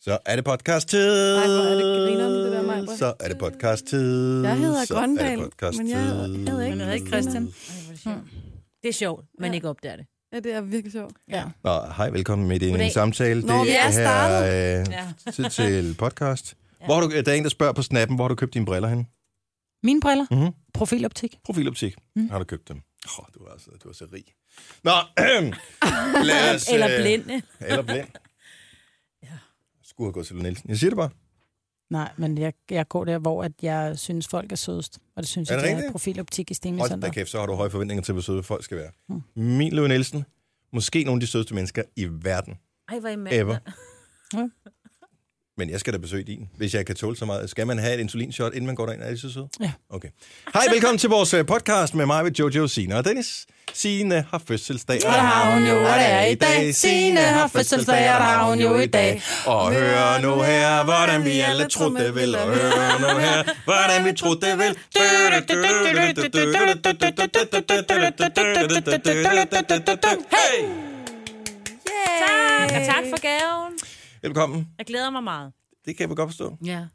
Så er det podcast-tid. Ej, hvor er det grineren, det der, Maja. Så er det podcast-tid. Jeg hedder så Grøndal, er det podcast-tid. men jeg hedder- hedder ikke Men hedder ikke Christian. Hmm. Det er sjovt, man ikke opdager det. Ja, det er virkelig sjovt. Ja. Nå, hej, velkommen med i en Goddag. samtale. Nå, vi er her øh, Ja. tid til podcast. Hvor har du, der er en, der spørger på snappen, hvor har du købt dine briller hen? Mine briller. Mhm. Profiloptik. Profiloptik. Mm. Har du købt dem? Åh, oh, du, er altså, du er så rig. Nå, lad os... Eller øh, blinde. Eller blind. Ja. Skulle have gået til Lund Nielsen. Jeg siger det bare. Nej, men jeg, jeg går der, hvor at jeg synes, folk er sødest. Og det synes Er jeg, det det er rigtigt? profiloptik Hold da i Stenmidtcenter. kæft, så har du høje forventninger til, hvor søde folk skal være. Mm. Min Lund Nielsen. Måske nogle af de sødeste mennesker i verden. Ej, hvor er I mand. Ever. Ja. Men jeg skal da besøge din, hvis jeg kan tåle så meget. Skal man have et insulinshot, inden man går derind? Er det så sød? Ja. Okay. Hej, velkommen til vores øh, podcast med mig, med Jojo, Sina og Dennis. Sine har fødselsdag. Og det har hun jo, og det er i dag. Signe har fødselsdag, og det har hun jo i dag. Og hør nu her, hvordan vi alle trodde vel. Og hør nu her, hvordan vi trodde vel. Hey! Tak, og tak for gaven. Velkommen. Jeg glæder mig meget. Det kan vi godt forstå. Ja.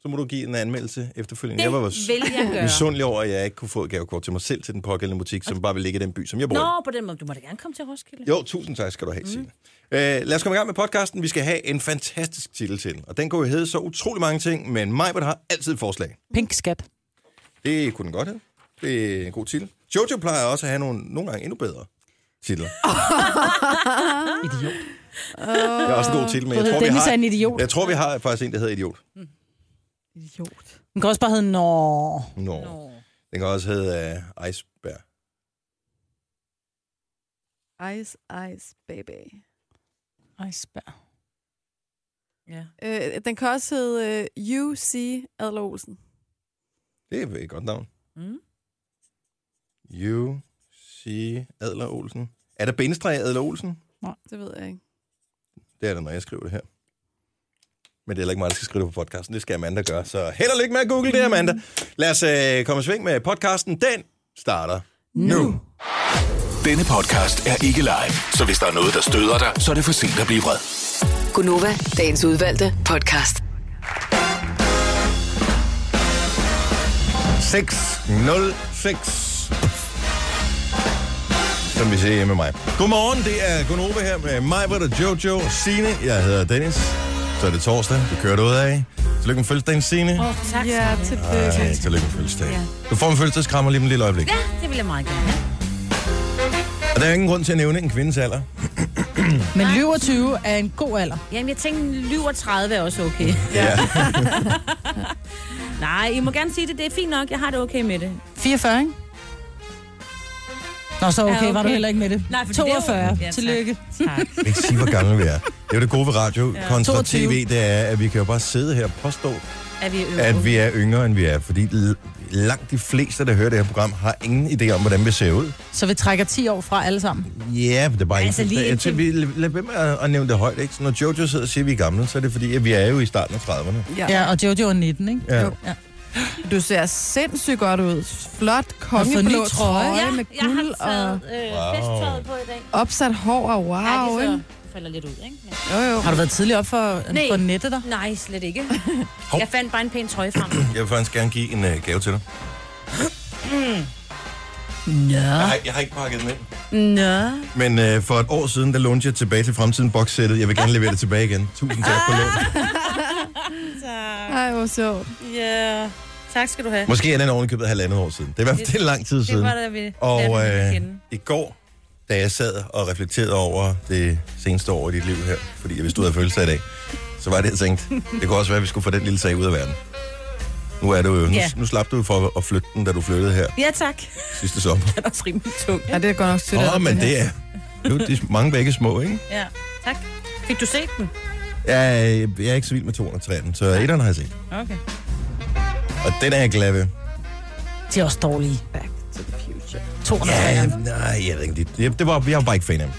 Så må du give en anmeldelse efterfølgende. Det Jeg var vil jeg gøre. misundelig over, at jeg ikke kunne få et gavekort til mig selv til den pågældende butik, som bare vil ligge i den by, som jeg bor i. Nå, på den måde. Du må da gerne komme til Roskilde. Jo, tusind tak skal du have, Signe. Mm. Øh, lad os komme i gang med podcasten. Vi skal have en fantastisk titel til den, og den kunne jo hedde så utrolig mange ting, men Majbert har altid et forslag. Pink skat. Det kunne den godt hedde. Det er en god titel. Jojo plejer også at have nogle, nogle gange endnu bedre titler. Idiot. Det er også en god titel, men Du jeg tror, hedder vi Dennis er har, en idiot. jeg tror, vi har faktisk en, der hedder Idiot. Idiot. Den kan også bare hedde, Nå. Nå. Nå. No. Den kan også hedde uh, Iceberg. Ice, ice, baby. Ej, spær. Ja. Øh, den kan også hedde øh, UC Adler Olsen. Det er et godt navn. Mm. U.C. Adler Olsen. Er der bindestreg i Adler Olsen? Det ved jeg ikke. Det er det, når jeg skriver det her. Men det er heller ikke mig, der skal skrive det på podcasten. Det skal Amanda gøre. Så held og lykke med at google det, Amanda. Lad os øh, komme i sving med podcasten. Den starter nu. Denne podcast er ikke live, så hvis der er noget, der støder dig, så er det for sent at blive vred. Gunova, dagens udvalgte podcast. 606. Som vi siger hjemme med mig. Godmorgen, det er Gunova her med mig, Britt og Jojo, Sine. Jeg hedder Dennis. Så er det torsdag. Du kører det ud af. Tillykke med fødselsdagen, Signe. Åh, tak. Ja, Signe. tillykke. Ej, tillykke med fødselsdagen. Ja. Du får en fødselsdagskrammer lige om et lille øjeblik. Ja, det vil jeg meget gerne. have. Og der er ingen grund til at nævne en kvindes alder. Men lyver 20 er en god alder. Jamen, jeg tænkte, lyv og 30 er også okay. Ja. Nej, I må gerne sige det. Det er fint nok. Jeg har det okay med det. 44, ikke? Nå, så okay, Ja, okay. var du heller ikke med det. Nej, for det er jo- 42. Ja, tak. Tillykke. Tak. ikke sige, hvor gamle vi er. Det er jo det gode ved radio ja. kontra 22. tv, det er, at vi kan jo bare sidde her og påstå, Er vi øvrige? at vi er yngre, end vi er. Fordi l- langt de fleste, der hører det her program, har ingen idé om, hvordan vi ser ud. Så vi trækker 10 år fra alle sammen. Ja, men det er bare Altså, ikke... lige Jeg indtil- tænker, vi lad være med at, at nævne det højt, ikke? Så når Jojo sidder og siger, at vi er gamle, så er det fordi, at vi er jo i starten af 30'erne. Ja, og Jojo er 19, ikke? Ja. Jo. Ja. Du ser sindssygt godt ud. Flot ny kongeblå trøje. trøje Ja, med jeg har guld taget og øh, Wow. festtøjet på i dag. opsat hår og Ej, wow, det ikke? så falder lidt ud, ikke? Men... Jo, jo. Har du været tidligere op for, Nej. for nettet, der? Nej, slet ikke. Hov. Jeg fandt bare en pæn trøje frem. Jeg vil faktisk gerne give en uh, gave til dig. Mm. Ja. Nej, jeg har ikke pakket den ind. Nå. Men øh, for et år siden, der lånte jeg tilbage til fremtiden bokssættet. Jeg vil gerne levere det tilbage igen. Tusind tak for lånet. Ej, hvor sjovt. Ja. Tak skal du have. Måske er den ovenikøbet halvandet år siden. Det er i hvert fald det er lang tid siden. Det var da vi Og lærte øh, at kende. i går, da jeg sad og reflekterede over det seneste år i dit liv her, fordi jeg vidste, du havde følelser i dag, så var det, jeg tænkte, det kunne også være, at vi skulle få den lille sag ud af verden. Nu, er du jo, nu, Ja. nu slap du for at flytte den, da du flyttede her Ja, tak. sidste sommer. Den er også rimelig tung. Ja, ikke? det er godt nok sødt. Åh, af oh, dig, men den her. det er... Nu er de mange begge små, ikke? Ja, tak. Fik du set den? Jeg, er- jeg er ikke så vild med 213, så etteren har jeg set. Okay. Og den er jeg glad ved. De er også dårlige. Back to the future. 200 Ja, yeah. nej, jeg ved ikke. Det, det, det var, jeg var bare ikke fan af dem.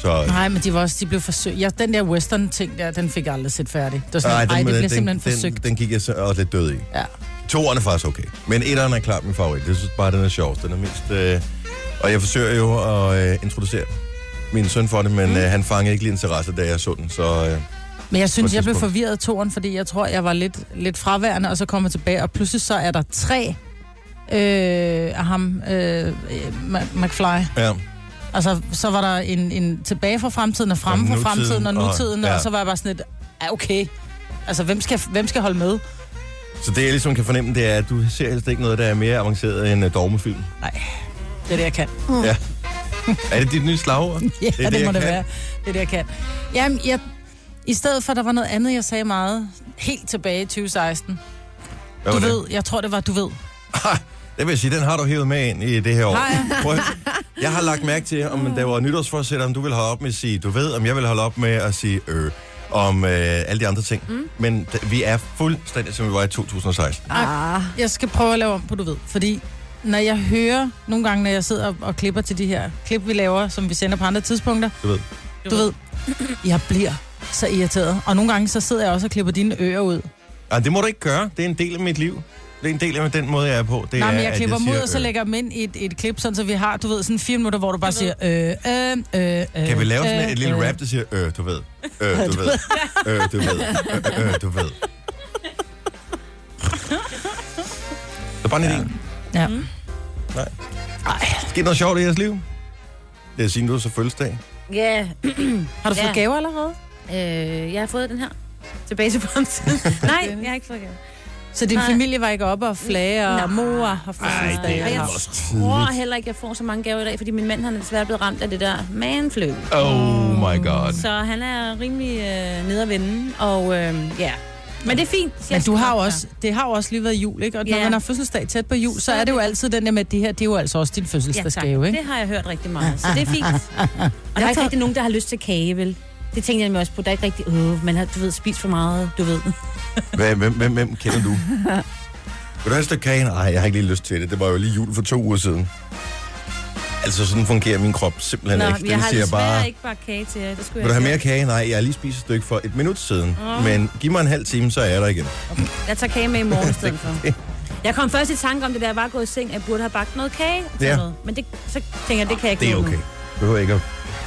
Så Nej, men de var også, de blev forsøgt. Ja, den der western-ting der, den fik jeg aldrig set færdig. Det var sådan, nej, den, ej, det med- bliver den, simpelthen den, forsøgt. Den, den gik jeg så også lidt død i. Ja. Toeren er faktisk okay, men etteren er klart min favorit. Jeg synes bare, den er sjovest. Den er mest... Øh, og jeg forsøger jo at øh, introducere min søn for det, men mm. øh, han fangede ikke lige interesse, da jeg så den, så øh, Men jeg synes, et jeg blev tidspunkt. forvirret af toren, fordi jeg tror, jeg var lidt, lidt fraværende, og så kommer jeg tilbage, og pludselig så er der tre øh, af ham, øh, Ma- McFly. Ja. Altså, så var der en, en tilbage fra fremtiden, og fremme Og fra nutiden, fremtiden, og og- nutiden, og, ja. og så var jeg bare sådan lidt, ja, okay. Altså, hvem skal, hvem skal holde med? Så det, jeg ligesom kan fornemme, det er, at du ser helst ikke noget, der er mere avanceret end øh, dogmefilm. Det er det, jeg kan. Ja. Er det dit nye slagord? Ja, det, det må jeg det kan. være. Det er det, jeg kan. Jamen, jeg, i stedet for, der var noget andet, jeg sagde meget, helt tilbage i 2016. Hvad Du var det? Ah, ved, jeg tror, det var, du ved. Det vil jeg sige, den har du hævet med ind i det her år. Har jeg? Prøv, at- jeg har lagt mærke til, om der var nytårsforsætter, om du vil holde op med at sige, du ved, om jeg vil holde op med at sige, øh, om øh, alle de andre ting. Mm. Men d- vi er fuldstændig, som vi var i 2016. Ah, Jeg skal prøve at lave om på, du ved. Fordi når jeg hører, nogle gange, når jeg sidder og, og klipper til de her klip, vi laver, som vi sender på andre tidspunkter, Du ved. du ved, jeg bliver så irriteret. Og nogle gange, så sidder jeg også og klipper dine ører ud. Ej, Ah, det må du ikke gøre. Det er en del af mit liv. Det er en del af den måde, jeg er på. Det Nej, er, men jeg at klipper dem ud, siger, og så øh. lægger jeg dem ind i et, et klip, sådan så vi har, du ved, sådan fire minutter, hvor du bare siger, øh, øh, øh, øh, Kan vi lave sådan øh, et lille øh. rap, der siger, øh, du ved, øh, du ved, øh, du ved, øh, øh, du ved. Det er bare en idé. Ja. Nej. Sker noget sjovt i jeres liv? Det er siden, du er så fødselsdag. Ja, Har du fået Ja. gaver allerede? øh, jeg har fået den her. Tilbage til fremtiden. Nej, jeg har ikke fået den. Så din Nej. familie var ikke oppe og flage, og Nej. mor har fødselsdag. Og jeg og- tror heller ikke, jeg får så mange gaver i dag, fordi min mand han er desværre blevet ramt af det der manflu. Oh my god. Så han er rimelig øh, nede at vende, og øh, ja. Men det er fint. Jeg Men du skal har jo nok også, det har jo også lige været jul, ikke? Og når Ja. man har fødselsdag tæt på jul, så er det jo altid den der med, at det her, det er jo altså også din Ja, tak. fødselsdagsgave, ikke? Det har jeg hørt rigtig meget, så det er fint. Og der er ikke rigtig nogen, der har lyst til kage, vel? Det tænkte jeg nemlig også på. Der er ikke rigtig, øh, man har, du ved, spist for meget, du ved. Hvem, hvem, hvem, hvem kender du? Vil du have et stykke kage? Nej, jeg har ikke lige lyst til det. Det var jo lige jul for to uger siden. Altså, sådan fungerer min krop simpelthen ikke. jeg vil har sige, jeg desværre ikke bare kage til jer. Det skulle Vil du jeg have mere sige. kage? Nej, jeg har lige spist et stykke for et minut siden. Åh. Men giv mig en halv time, så er jeg der igen. Jeg tager kage med i morgen i stedet for. Jeg kom først i tanke om det, da jeg var gået i seng, at jeg burde have bagt noget kage. Og Ja. ja. noget. Men det, så tænker jeg, det kan jeg ikke Det er nå nu. okay. Du behøver ikke at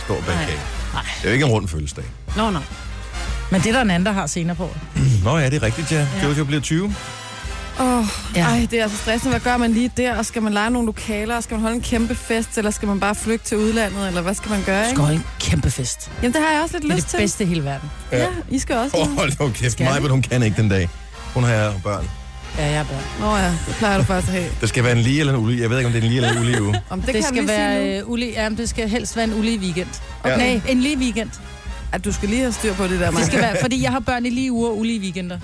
stå bag Nej. kage. Det er jo ikke en rund fødselsdag. Nå, nå. Men det er der en anden, der har senere på. året. Nå ja, det er rigtigt, ja. Ja. Jojo bliver 20. oh, Ja. ja. Ej, det er altså stressende. Hvad gør man lige der? Og skal man lege nogle lokaler? Og skal man holde en kæmpe fest? Eller skal man bare flygte til udlandet? Eller hvad skal man gøre, ikke? Skål, en kæmpe fest. Jamen, det har jeg også lidt Det er lyst det til. bedste i hele verden. Ja, I skal også. Åh, Oh. oh, hold nu kæft. Skal vi? Maja, hun kan ikke den dag. Hun har børn. Ja, jeg er børn. Nå ja, det plejer du faktisk at have. Det skal være en lige eller en ulige. Jeg ved ikke, om det er en lige eller en ulige uge. Om det, kan Det, det vi skal lige være sige nu. øh, ulig, ja, men det skal helst være en ulig weekend. Ja. Okay. Nej, en lige weekend. At du skal lige have styr på det der, Det Maja. skal være, fordi jeg har børn i lige uger og ulige weekender.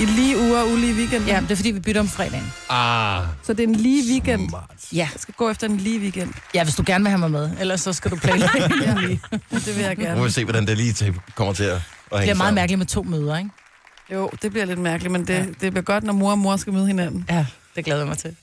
I lige uger og ulige weekend. Ja, det er fordi, vi bytter om fredagen. Ah, Så det er en lige weekend. smart. Ja. Jeg skal gå efter en lige weekend. Ja, hvis du gerne vil have mig med, ellers så skal du planlægge. Ja, det vil jeg Nu gerne. må vi se, hvordan det lige til- kommer til at, at Det hænge bliver meget sammen. mærkeligt med to møder, ikke? Jo, det bliver lidt mærkeligt, men det, det bliver godt, når mor og mor skal møde hinanden. Ja, det glæder jeg mig til.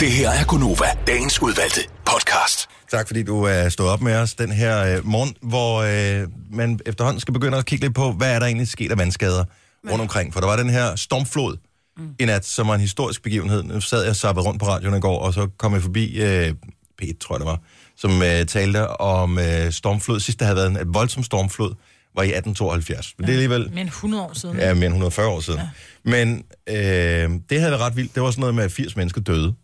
Det her er Gunova, dagens udvalgte podcast. Tak fordi du er stået op med os den her øh, morgen, hvor øh, man efterhånden skal begynde at kigge lidt på, hvad er der egentlig sket af vandskader rundt omkring. For der var den her stormflod mm. i nat, som var en historisk begivenhed. Nu sad jeg og zappede rundt på radioen i går, og så kom jeg forbi øh, P1, tror jeg det var, som øh, talte om øh, stormflod. Sidst der havde været en et voldsom stormflod, var i 1872. Men det er alligevel Men 100 år siden. ja, mere end 140 år siden. Ja. Men øh, det havde været ret vildt. Det var sådan noget med, at 80 mennesker døde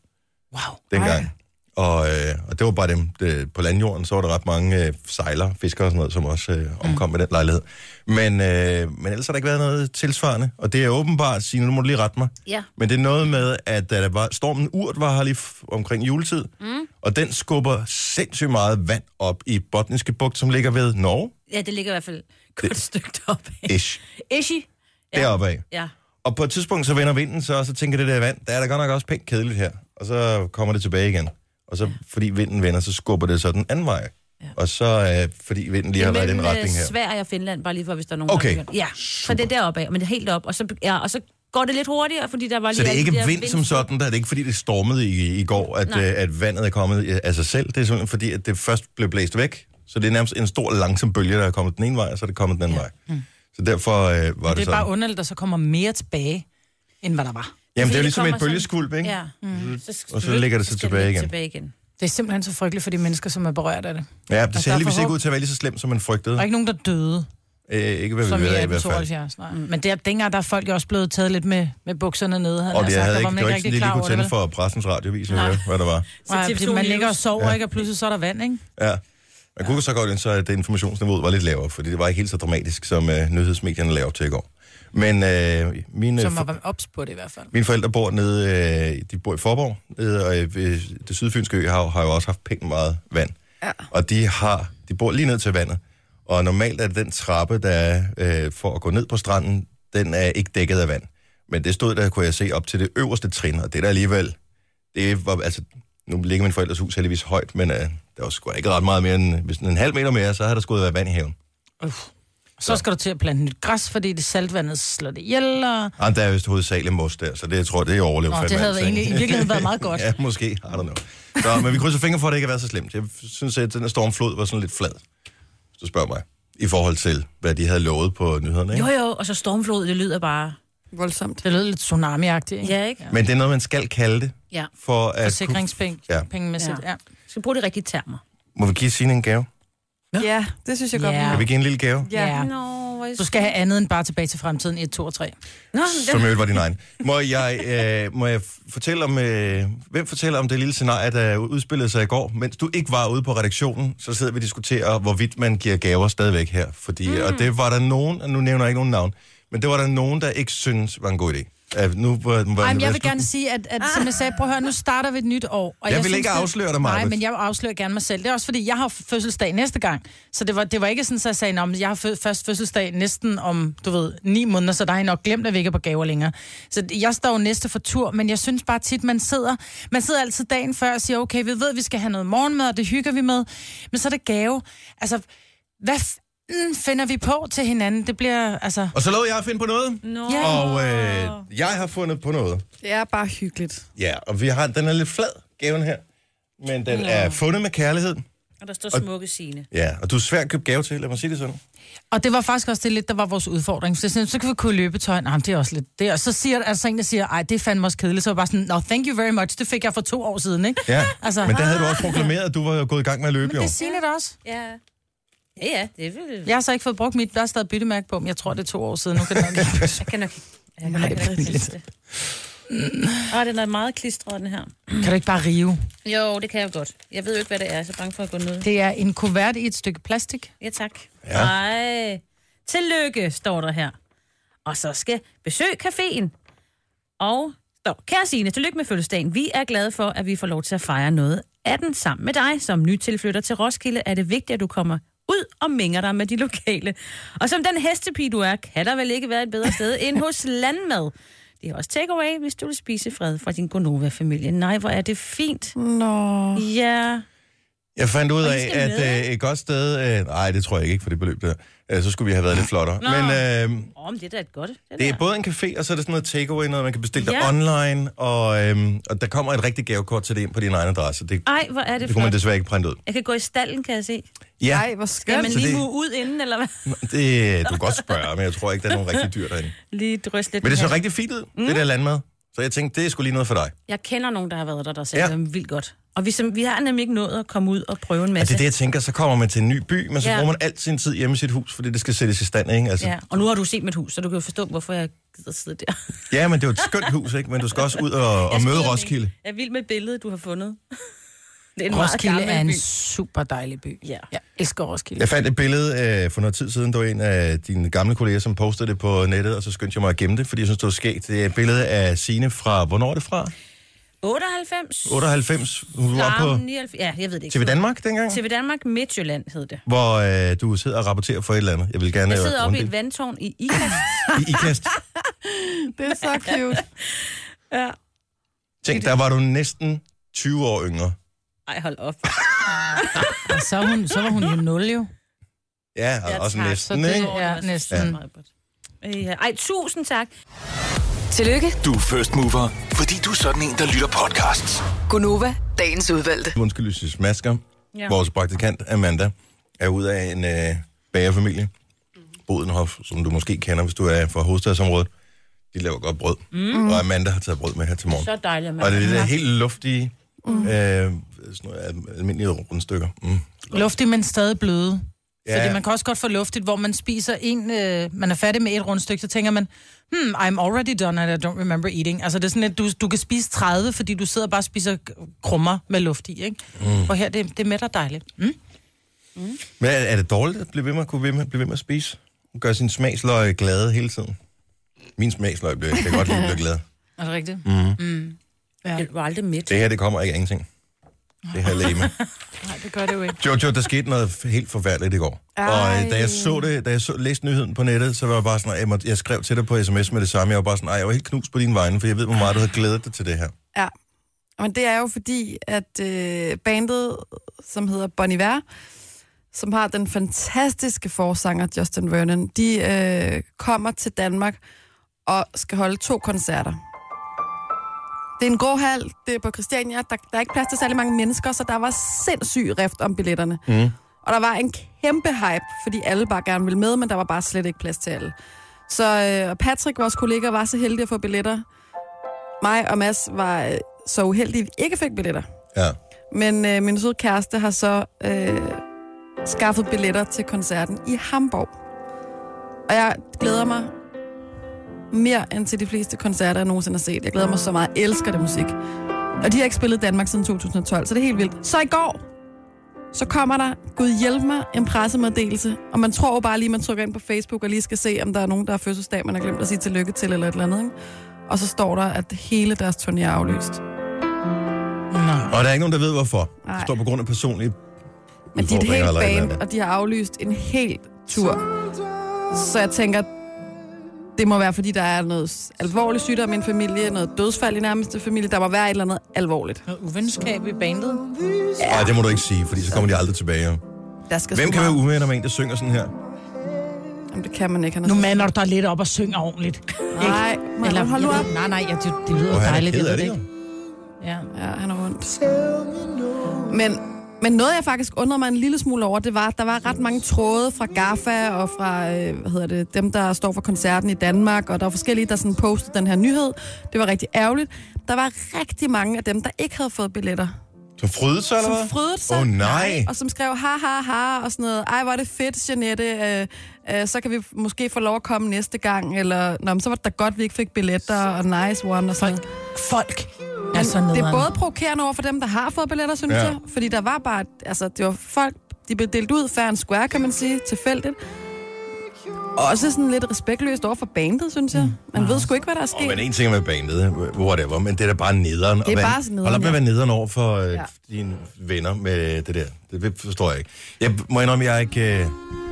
Wow. dengang. Og, øh, og det var bare dem. Det, på landjorden, så var der ret mange øh, sejlere, fiskere og sådan noget, som også øh, omkom mm. med den lejlighed. Men, øh, men ellers har der ikke været noget tilsvarende. Og det er åbenbart, Signe, nu må du lige rette mig. Ja. Men det er noget med, at da der var, stormen Urt var her lige f- omkring juletid, mm. og den skubber sindssygt meget vand op i Botniske Bugt, som ligger ved Norge. ja, det ligger i hvert fald et godt stykke deroppe. Ish. Ishi. Ja. Deroppe af. Ja. Og på et tidspunkt, så vender vinden så, og så tænker det der vand, der er da godt nok også pænt kedeligt her. Og så kommer det tilbage igen. Og så, ja. fordi vinden vender, så skubber det så den anden vej. Ja. Og så, øh, fordi vinden lige har været i den retning her. øh, Sverige og Finland, bare lige for, hvis der er nogen, der Okay. har begyndt. Ja, så det er deroppe af, men det er helt op. Og så, ja, og så går det lidt hurtigere, fordi der var lige... Så det er alle de ikke der vind som sådan, der er det ikke fordi, det stormede i, i går, at, Nej. øh, at vandet er kommet øh, af sig selv. Det er simpelthen fordi, at det først blev blæst væk. Så det er nærmest en stor langsom bølge, der er kommet den ene vej, og så er det kommet den anden ja. vej. Så derfor øh, var det, Det er sådan. bare underligt, at der så kommer mere tilbage, end hvad der var. Jamen, det er jo Fordi ligesom et kommer sådan- bølgeskvulp, ikke? Mhm. Ja. Mm. Så, Og så ligger det så skal tilbage ligge igen. tilbage igen. Det er simpelthen så frygteligt for de mennesker, som er berørt af det. Ja, det ser der er heldigvis ikke forhåb- ud til at være lige så slemt, som man frygtede. Der er ikke nogen, der døde. Øh, ikke hvad vi Som i ved af i hvert fald. 1872, nej. Men der, dengang der er folk jo også blevet taget lidt med, med bukserne nede. havde Og jeg det, sagt, havde Altså, der ikke, var man det var ikke sådan, rigtig de lige klar kunne over det, tænde vel? for pressens radiovis, eller hvad der var. Nej, TV2 fordi man News. ligger og sover, ikke? Og pludselig så er der vand, ikke? Ja. Man kunne så godt ind, så at det informationsniveauet var lidt lavere, fordi det var ikke helt så dramatisk, som øh, nyhedsmedierne lavede op til i går. Men øh, mine, Som for, var ops på det i hvert fald. mine forældre bor nede, øh, de bor i Forborg, nede, og øh, det sydfynske øhav har jo også haft pænt meget vand. Ja. Og de, har, de bor lige ned til vandet, og normalt er det den trappe, der er øh, for at gå ned på stranden, den er ikke dækket af vand. Men det stod der, kunne jeg se, op til det øverste trin, og det der alligevel, det var, altså, nu ligger min forældres hus heldigvis højt, men øh, der var sgu ikke ret meget mere end, hvis en halv meter mere, så havde der skulle været vand i haven. Så skal du til at plante nyt græs, fordi det saltvandet slår det ihjel, og... Ah, der er vist hovedsageligt mos der, så det jeg tror jeg, det er overlevet. Nå, fandme det havde alt, egentlig, i ikke? virkeligheden været meget godt. Ja, måske. I don't know. Så, men vi krydser fingre for, at det ikke har været så slemt. Jeg synes, at den her stormflod var sådan lidt flad, hvis du spørger mig. I forhold til, hvad de havde lovet på nyhederne, ikke? Jo, jo, og så stormflod, det lyder bare... Voldsomt. Det lød lidt tsunami-agtigt, ikke? Ja, ikke? Men det er noget, man skal kalde det. Ja. For at Forsikringspenge, Ja. ja. pengemæssigt, Ja. ja. Du skal bruge de rigtige termer. Kunne... Må vi give Signe en gave? Ja, det synes jeg godt. Ja. vi må. Kan vi give en lille gave? Ja. Ja. Nå, hvor Du skal have andet end bare tilbage til fremtiden i 1, 2 og 3. Nå, Ah, Som øvrigt var din egen. Må jeg, øh, må jeg fortælle om, øh, hvem fortæller om det lille scenarie, der udspillede sig i går, mens du ikke var ude på redaktionen, så sidder vi og diskuterer, hvorvidt man giver gaver stadigvæk her. Fordi, mm. Og det var der nogen, og nu nævner jeg ikke nogen navn, men det var der nogen, der ikke synes var en god idé. Øh, nu var, var, Ej, men jeg var- vil gerne sige, at, at som jeg sagde, prøv at høre, nu starter vi et nyt år. Og Jeg vil synes, ikke at- afsløre dig, Maja. Nej, men jeg afslører gerne mig selv. Det er også fordi, jeg har fødselsdag næste gang. Så det var, det var ikke sådan, at jeg sagde, at jeg har fø- først fødselsdag næsten om, du ved, ni måneder, så der har I nok glemt, at vi ikke er på gaver længere. Så jeg står jo næste for tur, men jeg synes bare tit, man sidder, man sidder altid dagen før og siger, okay, vi ved, at vi skal have noget morgenmad, og det hygger vi med. Men så er det gave. Altså, hvad fanden finder vi på til hinanden? Det bliver, altså... Og så lovede jeg at finde på noget. Nå. Ja. Og øh, jeg har fundet på noget. Det er bare hyggeligt. Ja, og vi har, den er lidt flad, gaven her. Men den er fundet med kærlighed. Og der står smukke sine. Ja, og du er svær at købe gave til, lad mig sige det sådan. Og det var faktisk også det lidt, der var vores udfordring. Så, sådan, så kan vi købe løbetøj. Nej, men det er også lidt det. Og så siger altså en, der siger, ej, det er fandme også kedeligt. Så var jeg bare sådan, no, thank you very much. Det fik jeg for to år siden, ikke? Ja, Altså, men der havde du også proklameret, at du var gået i gang med at løbe i år. Det siger lidt også. Ja. Ja, ja, det vil Jeg har så ikke fået brugt mit, der er stadig byttemærke på, men jeg tror, det er to år siden. Nu kan det nok ikke. Jeg kan nok ikke. Jeg kan nok ikke rigtig læse det. Åh, den er meget klistret, den her. kan du ikke bare rive? Jo, det kan jeg jo godt. Jeg ved jo ikke, hvad det er. Jeg er så bange for at gå ned. Det er en kuvert i et stykke plastik. Ja, tak. Ja. Ja. Ej. Tillykke, står der her. Og så skal besøg caféen. Og står, kære Signe, tillykke med fødselsdagen. Vi er glade for, at vi får lov til at fejre noget af den sammen med dig. Som ny tilflytter til Roskilde er det vigtigt, at du kommer ud og mænger dig med de lokale. Og som den hestepige, du er, kan der vel ikke være et bedre sted end hos Landmad. Det er også takeaway, hvis du vil spise fred fra din Gonova-familie. Nej, hvor er det fint. Nå. Ja. Jeg fandt ud Og I af, skal med, at øh, et godt sted... Øh, nej, det tror jeg ikke for det beløb der. Øh, så skulle vi have været lidt flottere. Men øh, Åh, men det er da et godt. den det er der. både en café, og så er det sådan noget takeaway, noget man kan bestille ja. Ja. online, og, øh, og der kommer et rigtigt gavekort til det ind på din egen adresse. Det, Ej, hvor er det, det kunne man flot. desværre ikke printe ud. Jeg kan gå i stallen, kan jeg se. Ja, Ej, hvor Skal skønt. man Så lige det- mue ud inden, eller hvad? det, du kan godt spørge, men jeg tror ikke, der er nogen rigtig dyr derinde. Lige drysse lidt. Men det med så hatten. rigtig fint ud, mm. det der landmad. Så jeg tænkte, det er sgu lige noget for dig. Altså, Jeg kender nogen, der har været der, der sagde, Ja. ja. det var vildt godt. Og vi, som, vi har nemlig ikke nået at komme ud og prøve en Altså, masse. det er det, jeg tænker, så kommer man til en ny by, men så Ja. bruger man alt sin tid hjemme i sit hus, fordi det skal sættes i stand, ikke? Altså, Ja. Og nu har du set mit hus, så du kan jo forstå, hvorfor jeg gider sidde der. Ja, men det er jo et skønt hus, ikke? Men du skal også ud og, og møde Jeg skyder den Roskilde. ikke. Jeg er vild med billedet, du har fundet. det er en Roskilde meget gammel er en by. super dejlig by. Ja. Jeg elsker Roskilde. Jeg fandt et billede øh, for noget tid siden, der var en af dine gamle kolleger, som postede det på nettet, og så skyndte jeg mig at gemme det, fordi jeg synes, det var skægt. Det er et billede af Sine fra, hvornår er det fra? 98? 98. Hun var Nej, på 99. Ja, jeg ved det ikke. TV Danmark dengang, TV Danmark Midtjylland hed det. hvor øh, du sidder og rapporterer for et eller andet. Jeg vil gerne Jeg sidder øh, oppe i runde et vandtårn i Ikast. det. I ikast. Det er så cute. Tænk, der var du næsten 20 år yngre. Ej, hold op. Og så, er hun, så var hun jo nul, jo. Ja, og, Ja, ja også tak. næsten, Så det- ikke? Ja, næsten. Ja. Øh, Ej, tusind tak. Tillykke, Du er first mover, fordi du er sådan en, der lytter podcasts. Gunova, dagens udvalgte. Undskyld, hvis jeg smasker. Ja. Ja. Vores praktikant Amanda er ud af en øh, bagerfamilie. Bodenhof, som du måske kender, hvis du er fra hovedstadsområdet. De laver godt brød. Mm. Og Amanda har taget brød med her til morgen. Så dejligt, Og mand. det er det der helt luftige, mm. øh, sådan noget, al- almindelige rundstykker. Mm. Luftig, men stadig bløde. Ja. Fordi Ja. man kan også godt få luftigt, hvor man spiser en, øh, man er færdig med et rundstykke, så tænker man, hmm, I'm already done and I don't remember eating. Altså det er sådan, at du, du kan spise 30, fordi du sidder og bare og spiser krummer med luft i, ikke? Mm. Og her, det, det mætter dejligt. Mm? Men er, er det dårligt at blive ved med at kunne ved med, blive ved med at spise? Gør sin smagsløg glade hele tiden. Min smagsløg bliver, kan godt lide at blive glad. Er det rigtigt? Mm. Jeg var aldrig midt. Det her, det kommer ikke af ingenting. Det her lame. Nej, det gør det jo ikke. Jojo, der skete noget f- helt forfærdeligt i går. Ej. Og øh, da jeg så det, da jeg så, læste nyheden på nettet, så var jeg bare sådan, jeg, måtte, jeg skrev til dig på sms med det samme. Jeg var bare sådan, "Ej, jeg var helt knust på din vegne, for jeg ved, hvor meget du havde glædet dig til det her. Ja. Men det er jo fordi, at øh, bandet, som hedder Bon Iver, som har den fantastiske forsanger Justin Vernon, de øh, kommer til Danmark og skal holde to koncerter. Det er en grå hal, det er på Christiania, der, der er ikke plads til særlig mange mennesker, så der var sindssyg rift om billetterne. Mm. Og der var en kæmpe hype, fordi alle bare gerne ville med, men der var bare slet ikke plads til alle. Så øh, og Patrick, vores kollega, var så heldig at få billetter. Mig og Mads var øh, så uheldige, at vi ikke fik billetter. Ja. Men øh, min søde kæreste har så øh, skaffet billetter til koncerten i Hamburg. Og jeg glæder mig mere end til de fleste koncerter, jeg nogensinde har set. Jeg glæder mig så meget. Jeg elsker det musik. Og de har ikke spillet i Danmark siden 2012, så det er helt vildt. Så i går, så kommer der, Gud hjælp mig, en pressemeddelelse. Og man tror jo bare lige, man trykker ind på Facebook og lige skal se, om der er nogen, der har fødselsdag, man har glemt at sige tillykke til eller et eller andet. Ikke? Og så står der, at hele deres turné er aflyst. Nå. Og der er ikke nogen, der ved, hvorfor. Det Nej. står på grund af personlige Men de er et udfordringer helt eller et eller band, andet. og de har aflyst en hel tur. Så jeg tænker, det må være, fordi der er noget alvorlig sygdom i en familie, noget dødsfald i nærmeste familie. Der må være et eller andet alvorligt. Noget uvenskab i bandet. Nej, det må du ikke sige, fordi så kommer de aldrig tilbage. jo. Der skal Hvem sgu kan være meget- uvenner med en, der synger sådan her? Jamen, det kan man ikke. Han er Nu så- mander du dig lidt op og synger ordentligt. Nej, man, Eller, hold nu jeg op. ved- Nej, nej, jeg, det, det lyder Og han er dejligt. ked jeg af ved det, jo. ikke. Ja. Ja, han er ondt. Men, men noget, jeg faktisk undrede mig en lille smule over, det var, at der var ret mange tråde fra GAFA og fra øh, hvad hedder det, dem, der står for koncerten i Danmark, og der var forskellige, der sådan postede den her nyhed. Det var rigtig ærgerligt. Der var rigtig mange af dem, der ikke havde fået billetter, Som frydede sig, eller som hvad? frydede sig. Åh, oh, nej. Og som skrev, ha, ha, ha, og sådan noget. Ej, hvor er det fedt, Jeanette. Øh, øh, så kan vi måske få lov at komme næste gang. Eller, Nå, men så var det da godt, vi ikke fik billetter, og nice one, og sådan noget. Folk er så Det er nederen. både provokerende over for dem, der har fået billetter, synes Ja. ja. jeg. Fordi der var bare... Altså, det var folk... De blev delt ud fair and square, kan man sige, tilfældigt. Også sådan lidt respektløst over for bandet, synes jeg. Man ved sgu ikke, hvad der er Og sket. men en ting er med bandet, whatever, men det er da bare nederen. Det er bare sådan nederen, Hold op med at ja. være nederen over for øh, ja. Ja. dine venner med det der. Det ved- forstår jeg ikke. Jeg må indrømme, jeg er ikke... Øh,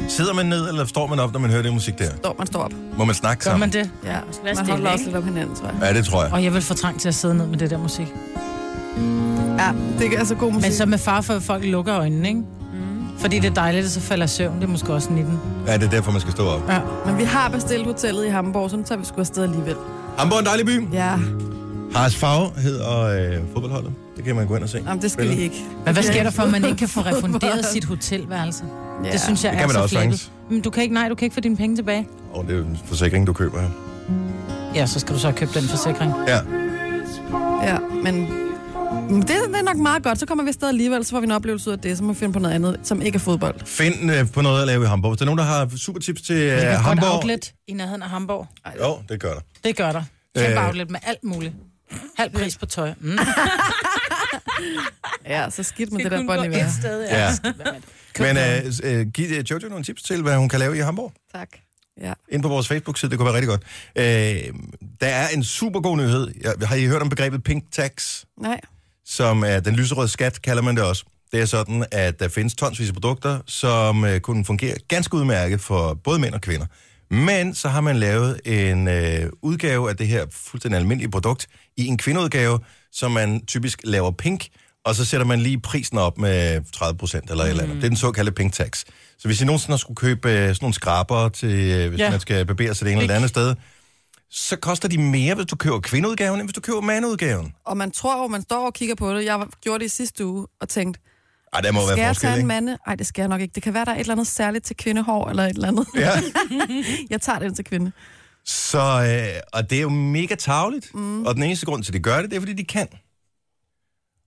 sidder man ned, eller står man op, når man hører det musik der? Står man står op. Må man snakke Gør sammen? man det? Ja, være man stille, holder også ikke? lidt om hinanden, tror jeg. Ja, det tror jeg. Og jeg vil få trang til at sidde ned med det der musik. Ja, det er altså god musik. Men så med far for, at folk lukker øjnene, ikke? Fordi det er dejligt, at så falder søvn. Det er måske også 19. Ja, det er derfor, man skal stå op. Ja. Men vi har bestilt hotellet i Hamburg, så nu tager vi sgu afsted alligevel. Hamburg er en dejlig by. Ja, Haras Fag hedder øh, fodboldholdet. Det kan man gå ind og se. Jamen, det skal vi ikke. Men hvad sker der for, at man ikke kan få refunderet sit hotelværelse? Ja. Det synes jeg Det kan er man da så også flabet. sagtens. Men du kan ikke, nej, du kan ikke få dine penge tilbage. Og det er jo en forsikring, du køber her. Ja, så skal du så købe den forsikring. Ja. Ja, men men det, det er nok meget godt. Så kommer vi afsted alligevel, så får vi en oplevelse ud af det, så må vi finde på noget andet, som ikke er fodbold. Find øh, på noget at lave i Hamburg. Hvis der er nogen, der har super tips til øh, Det er et godt Hamburg... outlet i nærheden af Hamburg. Jo, det gør der. Det gør der. Kæmpe Øh. outlet med alt muligt. Halv pris på tøj. Mm. Ja, så skidt med det, kun der bånd i gå et vejret. sted, ja. Ja. Men øh, s- øh, giv øh, Jojo nogle tips til, hvad hun kan lave i Hamburg. Tak. Ja. ind på vores Facebook-side, det kunne være rigtig godt. Øh, der er en super god nyhed. Jeg, har I hørt om begrebet pink tax, Nej. som er den lyserøde skat, kalder man det også? Det er sådan, at der findes tonsvis af produkter, som øh, kunne fungere ganske udmærket for både mænd og kvinder. Men så har man lavet en øh, udgave af det her fuldstændig almindelige produkt i en kvindeudgave, som man typisk laver pink, og så sætter man lige prisen op med 30 procent eller et eller andet. Det er den såkaldte pink tax. Så hvis I nogensinde skulle købe øh, sådan nogle skraber til, øh, hvis ja. Ja. man skal barbere sig det ene eller det andet sted, så koster de mere, hvis du køber kvindeudgaven, end hvis du køber mandeudgaven. Og man tror jo, man står og kigger på det. Jeg var- gjorde det i sidste uge og tænkte, Ej, der må skal være jeg forskel, tage en ikke? mande? Nej, det skal jeg nok ikke. Det kan være, der er et eller andet særligt til kvindehår eller et eller andet. Ja. jeg tager den til kvinde. Så, øh, og det er jo mega tavligt. Mm. Og den eneste grund til, at de gør det, det er, fordi de kan.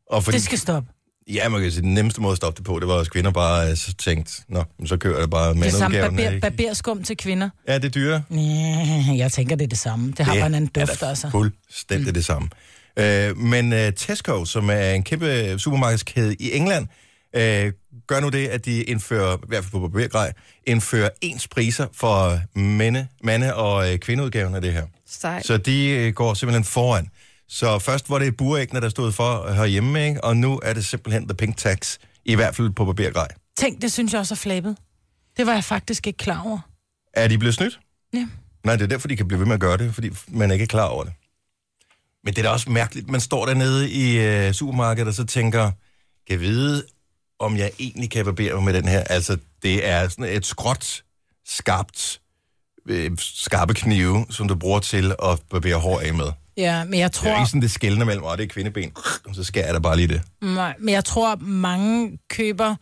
Og fordi, Det skal stoppe. Ja, man kan sige, den nemmeste måde at stoppe det på, det var, at kvinder bare øh, så tænkte, nå, men så kører det bare med Det er samme udgaven. barber, barberskum til kvinder. Ja, det er dyre. Ja, jeg tænker, det er det samme. Det har bare en anden duft, altså. fuldstændig mm. det samme. Øh, men øh, Tesco, som er en kæmpe øh, supermarkedskæde i England, øh, gør nu det, at de indfører, i hvert fald på barbergrej, indfører ens priser for mænde, mande- og øh, kvindeudgaven af det her. Sej. Så de øh, går simpelthen foran. Så først var det buræggene, der stod for herhjemme, ikke? og nu er det simpelthen the pink tax, i hvert fald på barbergrej. Tænk, det synes jeg også er flabet. Det var jeg faktisk ikke klar over. Er de blevet snydt? Ja. Nej, det er derfor, de kan blive ved med at gøre det, fordi man ikke er klar over det. Men det er da også mærkeligt, man står dernede i øh, supermarkedet og så tænker, kan vide, om jeg egentlig kan barbere mig med den her. Altså, det er sådan et skråt, skarpt, øh, skarpe knive, som du bruger til at barbere hår af med. Det Ja, men jeg er jo tror, ikke sådan, det skældner mellem, og det er kvindeben, og så skærer jeg da bare lige det. nej, men jeg tror mange køber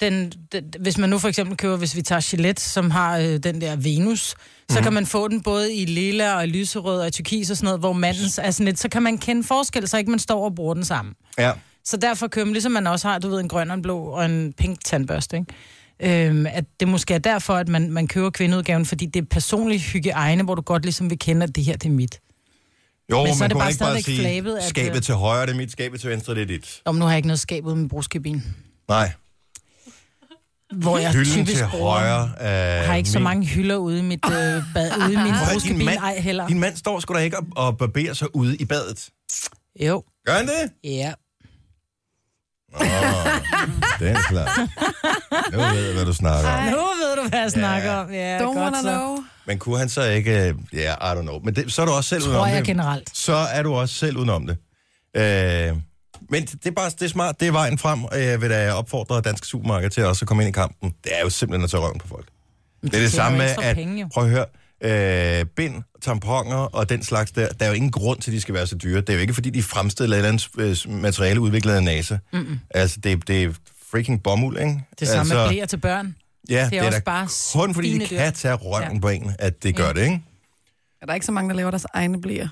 den, den, hvis man nu for eksempel køber, hvis vi tager Gillette, som har øh, den der Venus, så Mhm. kan man få den både i lilla og i lyserød og i turkis og sådan noget, hvor mandens er sådan lidt, så kan man kende forskel, så ikke man står og bruger den sammen. Ja. Så derfor køber man, ligesom man også har, du ved, en grøn og en blå og en pink tandbørste, ikke? Øhm, at det måske er derfor, at man, man køber kvindeudgaven, fordi det er personlig hygiejne, hvor du godt ligesom vil kende, at det her det er mit. Jo, men, så er man det kunne bare ikke bare stadigvæk sige, flabet, at- øh, skabet til højre, det er mit, skabet til venstre, det er dit. Om nu har jeg ikke noget skab ude med brugskabin, Nej, hvor jeg hylden typisk til bruger. højre. Øh, Jeg har ikke så min- mange hylder ude i mit øh, bad, ude i min Prøv at høre, brugskabin, ej heller. din mand står sgu da ikke og, og barberer sig ude i badet. Jo, Gør han det? ja. Nå, det er klart. Nu ved jeg, hvad du snakker om. Nu ved du, hvad jeg snakker om. Ja, Don't godt wanna så. know. Men kunne han så ikke... øh, Ja, yeah, I don't know. Men det, så er du også selv Tror udenom jeg det. generelt. Så er du også selv udenom det. Øh, men det er bare det er smart. Det er vejen frem. og Jeg vil da opfordre danske supermarkeder til også at komme ind i kampen. Det er jo simpelthen at tage røven på folk. Det er det de tjener samme jo med, ekstra at... penge, jo. prøv at høre. Øh, bind, tamponer og den slags der, der er jo ingen grund til, at de skal være så dyre. Det er jo ikke, fordi de er fremstillet af et eller andet øh, materiale udviklet af NASA. Mm-mm. Altså, det, det er freaking bomuld, ikke? Det samme med altså, blæer til børn. Ja, Det er også bare kun fordi de spinedyrt. kan tage røven ja. på en, at det gør det, ikke? Er der ikke så mange, der laver deres egne bliver?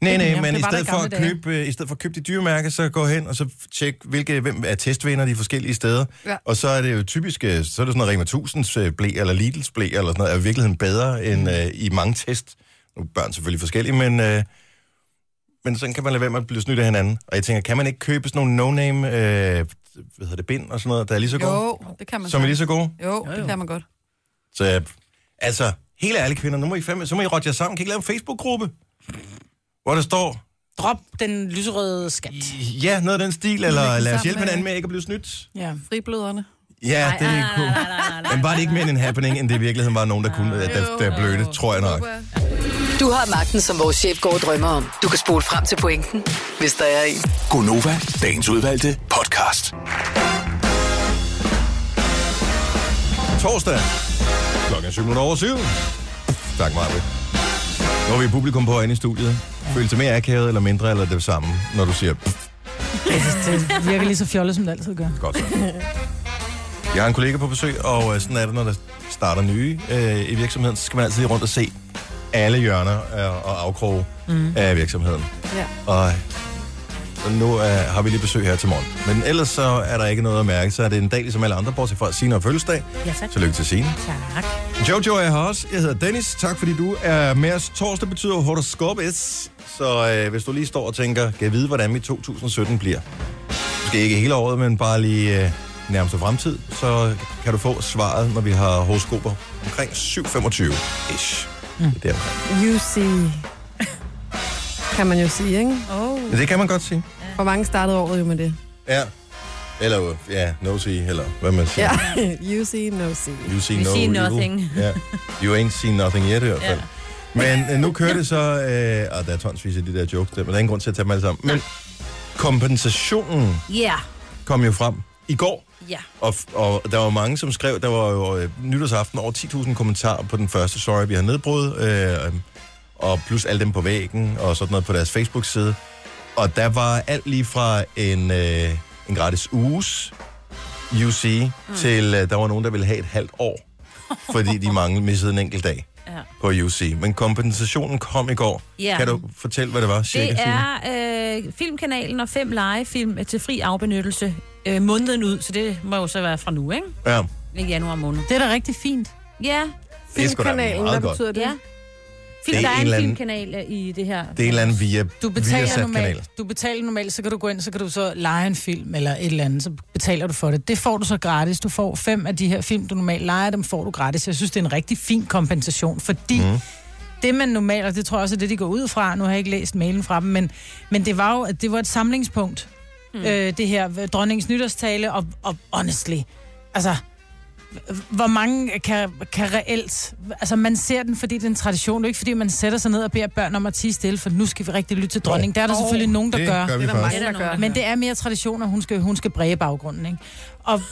Nej, Jamen, nej, jamen, men det i var der stedet, i for at gamle dage. købe, øh, i stedet for at købe de dyre mærker, så gå hen og så f- tjek, hvilke, hvem er testvinder de forskellige steder. Ja. Og så er det jo typisk, øh, så er det sådan noget Rema 1000's blæ, eller Lidl's blæ, eller sådan noget, er i virkeligheden bedre Mm. end øh, i mange test. Nu er børn selvfølgelig forskellige, men, øh, men sådan kan man lade være med at blive snydt af hinanden. Og jeg tænker, kan man ikke købe sådan nogle no-name, øh, hvad hedder det, bind og sådan noget, der er lige så gode? Jo, det kan man Som er så. lige så gode? Jo, det kan man godt. Så øh, altså, helt ærlige kvinder, nu må I, fandme, så må I rotte jer sammen. Kan I ikke lave en Facebook-gruppe, hvor der står, Drop den lyserøde skat. ja, noget af den stil, eller lad os sammen hjælpe med- hinanden med ikke at blive snydt. Ja. Fribløderne. Ja, det er cool. Men var det ikke mere end en happening, end det i virkeligheden var nogen, der kunne, der, der blev det, tror jeg nok. Du har magten, som vores chef går og drømmer om. Du kan spole frem til pointen, hvis der er en. Gonova, dagens udvalgte podcast. Torsdag, klokken 7 over 7. Tak, Marve. Nu er vi publikum på inde i studiet. Føles det mere akavet eller mindre, eller det samme, når du siger, pff, Det virker lige så fjollet, som det altid gør. godt så. Jeg har en kollega på besøg, og øh, sådan er det, når der starter nye øh, i virksomheden, så skal man altid lige rundt og se alle hjørner øh, og afkroge mm. af virksomheden. Ja. Og og nu øh, har vi lige besøg her til morgen. Men ellers så er der ikke noget at mærke, så er det en dag ligesom alle andre, bortset fra at Signe og fødselsdag. Ja, tak. Tillykke til Signe. Tak. Jojo er her også. Jeg hedder Dennis. Tak fordi du er med os. Torsdag betyder horoskopes. Så øh, hvis du lige står og tænker, kan jeg vide, hvordan mit 2017 bliver? Måske ikke hele året, men bare lige øh, nærmeste fremtid. Så kan du få svaret, når vi har horoskoper omkring 7.25. Ish. Mm. Det, er deromkring. You see. Kan man jo sige, ikke? Oh. Men det kan man godt sige. For mange startede året jo med det. Ja. Eller jo, ja, no see, eller hvad man siger. Ja, you see, no see. You see We no see evil. nothing. Ja. You ain't seen nothing yet i hvert fald. Ja. Men øh, nu kører det så... Øh, og der er tonsvis af de der jokes der, men der er ingen grund til at tage dem alle sammen. Men kompensationen Ja. kom jo frem i går, Ja. og, f- og der var mange, som skrev, der var jo øh, nytårsaften over 10.000 kommentarer på den første story, vi har nedbrudt, øh, og plus alle dem på væggen og sådan noget på deres Facebook-side. Og der var alt lige fra en, øh, en gratis uges UC, mm. til øh, der var nogen, der ville have et halvt år, fordi de manglede missede en enkelt dag. Ja. Ja. på UC. Men kompensationen kom i går. Ja. Kan du fortælle, hvad det var? Cirka, Det Signe? er øh, Filmkanalen og fem legefilm til fri afbenyttelse øh, måneden ud, så det må jo så være fra nu, ikke? Ja. I januar måned. Det er da rigtig fint. Ja, Det er sgu da Filmkanalen, meget hvad godt. betyder det? ja. Film, Det er der en er en eller anden- filmkanal øh, i det her. Det er en eller anden via, Du via betaler, sat kanal. normalt, du betaler normalt, så kan du gå ind, så kan du så lege en film eller et eller andet, så betaler du for det. Det får du så gratis. Du får fem af de her film, du normalt leger, dem får du gratis. Jeg synes, det er en rigtig fin kompensation, fordi mm. det man normalt, og det tror jeg også er det, de går ud fra, nu har jeg ikke læst mailen fra dem, men, men det var jo at det var et samlingspunkt, mm. øh, det her dronningens nytårstale, og, og honestly, altså, hvor mange kan, kan reelt... Altså, man ser den, fordi det er en tradition. Det er ikke, fordi man sætter sig ned og beder børn om at tige stille, for nu skal vi rigtig lytte til dronningen. Der er der selvfølgelig nogen, der Det gør. gør vi Det er der først. mange, der gør. Men det er mere tradition, at hun skal, hun skal bræge baggrunden, ikke? Og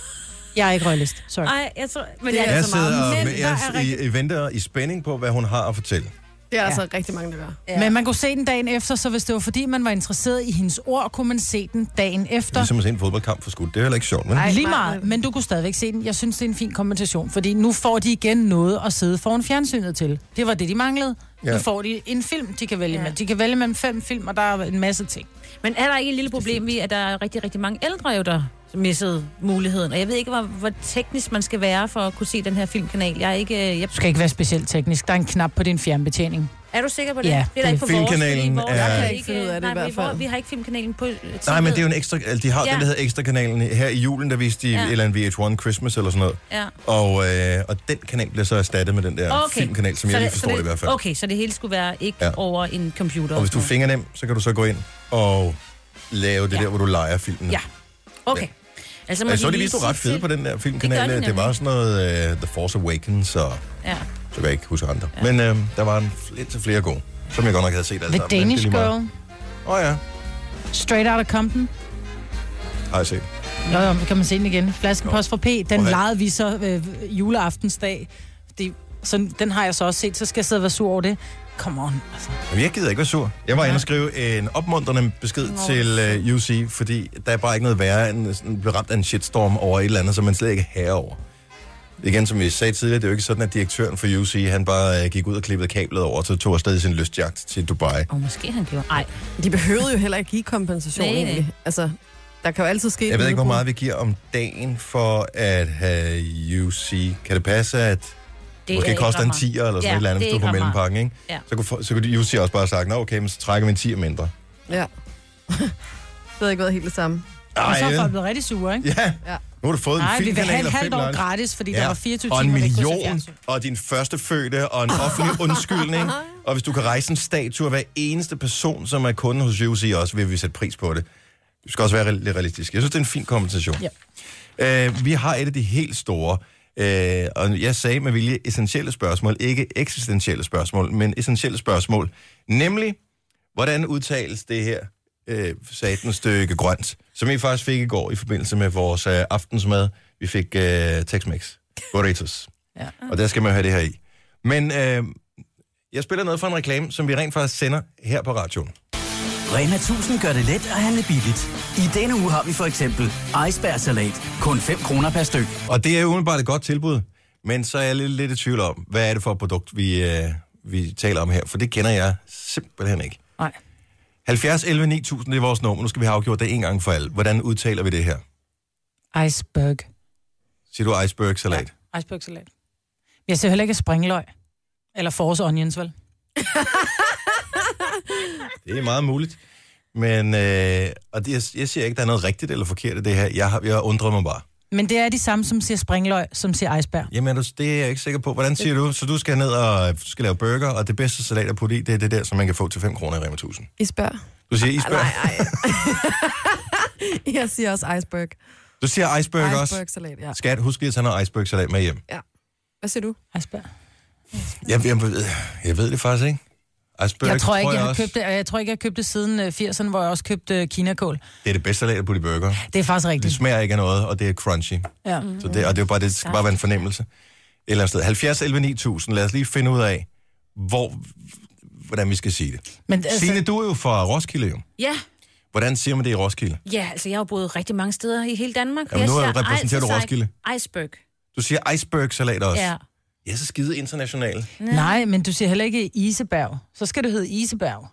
jeg er ikke royalist, sorry. Nej, jeg tror... Men Det det er er- Jeg altså meget. sidder og, Men der jeg, er jeg, jeg venter i spænding på, hvad hun har at fortælle. Det er altså rigtig mange, der gør. Ja. Men man kunne se den dagen efter, så hvis det var fordi, man var interesseret i hendes ord, kunne man se den dagen efter. Ligesom at se en fodboldkamp for skud. Det er heller ikke sjovt, men... Ej, Lige meget, Marvel. men du kunne stadigvæk se den. Jeg synes, det er en fin kompensation, fordi nu får de igen noget at sidde foran fjernsynet til. Det var det, de manglede. Ja. Ja. Nu får de en film, de kan vælge ja. med. De kan vælge mellem fem film, og der er en masse ting. Men er der ikke et lille problem i, at der er rigtig, rigtig mange ældre jo, der missede muligheden? Og jeg ved ikke, hvor, hvor teknisk man skal være for at kunne se den her filmkanal. Jeg er ikke... øh, Jeg, Du skal ikke være specielt teknisk. Der er en knap på din fjernbetjening. er du sikker på det? Ja, det er da ikke på Filmkanalen vores, fordi vores er- har Jeg kan ikke finde ud af det nej, i hvert men vores- fald. Vi har ikke filmkanalen på øh, Nej, tv. men det er jo en ekstra... Altså, de har ja. Ja. den, der hedder ekstrakanalen. Her i julen, der viste de Ja. ja. et eller andet VH1 Christmas eller sådan noget. Ja. Og, øh, og den kanal bliver så erstattet med den der okay. filmkanal, som jeg lige forstår så det, i hvert fald. Okay, så det hele skulle være ikke Ja. ja. over en computer. Og hvis du er fingernem, så kan du så gå ind og lave det ja. Ja. der, hvor du leger filmen. Ja, okay. Ja. Altså, Jeg så, de lige viste du ret sige fede til- på den der Det filmkanal. gør Det, de det var nemlig. sådan noget uh, The Force Awakens, og Ja. så kan jeg ikke huske andre. Ja. Men uh, der var en lidt til flere gode, som jeg godt nok havde set alle The sammen. Altså, men det er lige Danish meget. Girl, Åh oh, ja, Straight Outta Compton. har jeg set. Nå, jo, kan man se den igen. Flaskepost fra P, den Prøv at- lejede vi så øh, juleaftensdag. Det, så den har jeg så også set, så skal jeg sidde og være sur over det. Come on, altså. Men jeg gider ikke være sur. Jeg var inde og skrive en opmuntrende besked Nå. til uh, UC, fordi der er bare ikke noget værre end øh, sådan, blive ramt af en shitstorm over et eller andet, som man slet ikke er herover. Igen, som vi sagde tidligere, det er jo ikke sådan, at direktøren for UC, han bare uh, gik ud og klippede kablet over, så tog afsted i sin lystjagt til Dubai. Og måske han gjorde... Ej, De behøvede jo heller ikke give kompensation Nej, nej. egentlig. Altså, der kan jo altid ske... Jeg ved et ikke, hvor meget udbrud. vi giver om dagen for at have UC. Kan det passe, at det måske er ikke koster en ret meget. 10'er eller sådan Ja, et eller andet, hvis det er du ikke får ret meget. mellempakken, ikke? Ja. Så kunne, for- så kunne UC også bare have sagt, nå okay, men så trækker vi en 10'er mindre. Ja. det havde ikke været helt det samme. Og Ej, så er folk vel? blevet rigtig sure, ikke? ja. Ja. Nu har du fået Nej, en vi vil have filmkanal et og fem halvt år lange- gratis, fordi ja. der var 24 og en timer, vi ikke kunne se million, fjernsyn. og din første fødte, og en offentlig undskyldning. Og hvis du kan rejse en statue af hver eneste person, som er kunde hos UC også, vil vi sætte pris på det. Du skal også være re- lidt realistisk. Jeg synes, det er en fin kompensation. Ja. Øh, vi har et af de helt store, øh, og jeg sagde med vilje essentielle spørgsmål, ikke eksistentielle spørgsmål, men essentielle spørgsmål. Nemlig, hvordan udtales det her øh, satens stykke grønt, som vi faktisk fik i går i forbindelse med vores øh, aftensmad. Vi fik øh, Tex-Mex, burritos. Ja. Og der skal man have det her i. Men øh, jeg spiller noget fra en reklame, som vi rent faktisk sender her på radioen. Rema 1000 gør det let at handle billigt. I denne uge har vi for eksempel icebergsalat kun 5 kroner per styk. Og det er umiddelbart et godt tilbud, men så er jeg lidt, lidt i tvivl om, hvad er det for et produkt, vi, øh, vi taler om her, for det kender jeg simpelthen ikke. Nej. 70 11 9000, det er vores nummer. Nu skal vi have afgjort det en gang for alle. Hvordan udtaler vi det her? Iceberg. Siger du iceberg salat? Icebergsalat. Jeg ser heller ikke springløg. Eller force onions, vel? Ja. Det er meget muligt. Men øh, og det, jeg, jeg siger ikke, der er noget rigtigt eller forkert i det her. Jeg, har, jeg undrer mig bare. Men det er de samme, som siger springløg, som siger iceberg. Jamen, er du- det er jeg ikke sikker på. Hvordan siger du? Så du skal ned og du skal lave burger, og det bedste salat at putte i, det er det der, som man kan få til 5 kroner i Rema 1000. I spørger. Du siger iceberg. Ah, Nej, nej. jeg siger også iceberg. Du siger iceberg, iceberg også. Iceberg-salat, ja. Skat, husk lige at tage noget iceberg salat med hjem. Hvad siger du? Iceberg. Jeg, jeg, ved- jeg ved det faktisk ikke. Iceberg, Jeg tror ikke, jeg har også, købt det, og jeg tror ikke, jeg har købt det siden øh, 80'erne, hvor jeg også købte øh, kinakål. Det er det bedste salat at putte i burger. Det er faktisk Det Mm. rigtigt. smager ikke af noget, og det er crunchy. Ja. Så det, og det, er jo bare, det skal bare være en fornemmelse. Et eller andet sted. 70 11 9000. Lad os lige finde ud af, hvor, hvordan vi skal sige det. Men altså, Signe, du er jo fra Roskilde, jo. Ja, Hvordan siger man det i Roskilde? ja, altså jeg har jo boet rigtig mange steder i hele Danmark. Jamen, Jeg nu siger repræsenterer du altså Roskilde. Iceberg. Du siger iceberg salat også. Ja. Jeg er så skide international. Nej, men du siger heller ikke øh, Iseberg. Så skal du hedde Iseberg.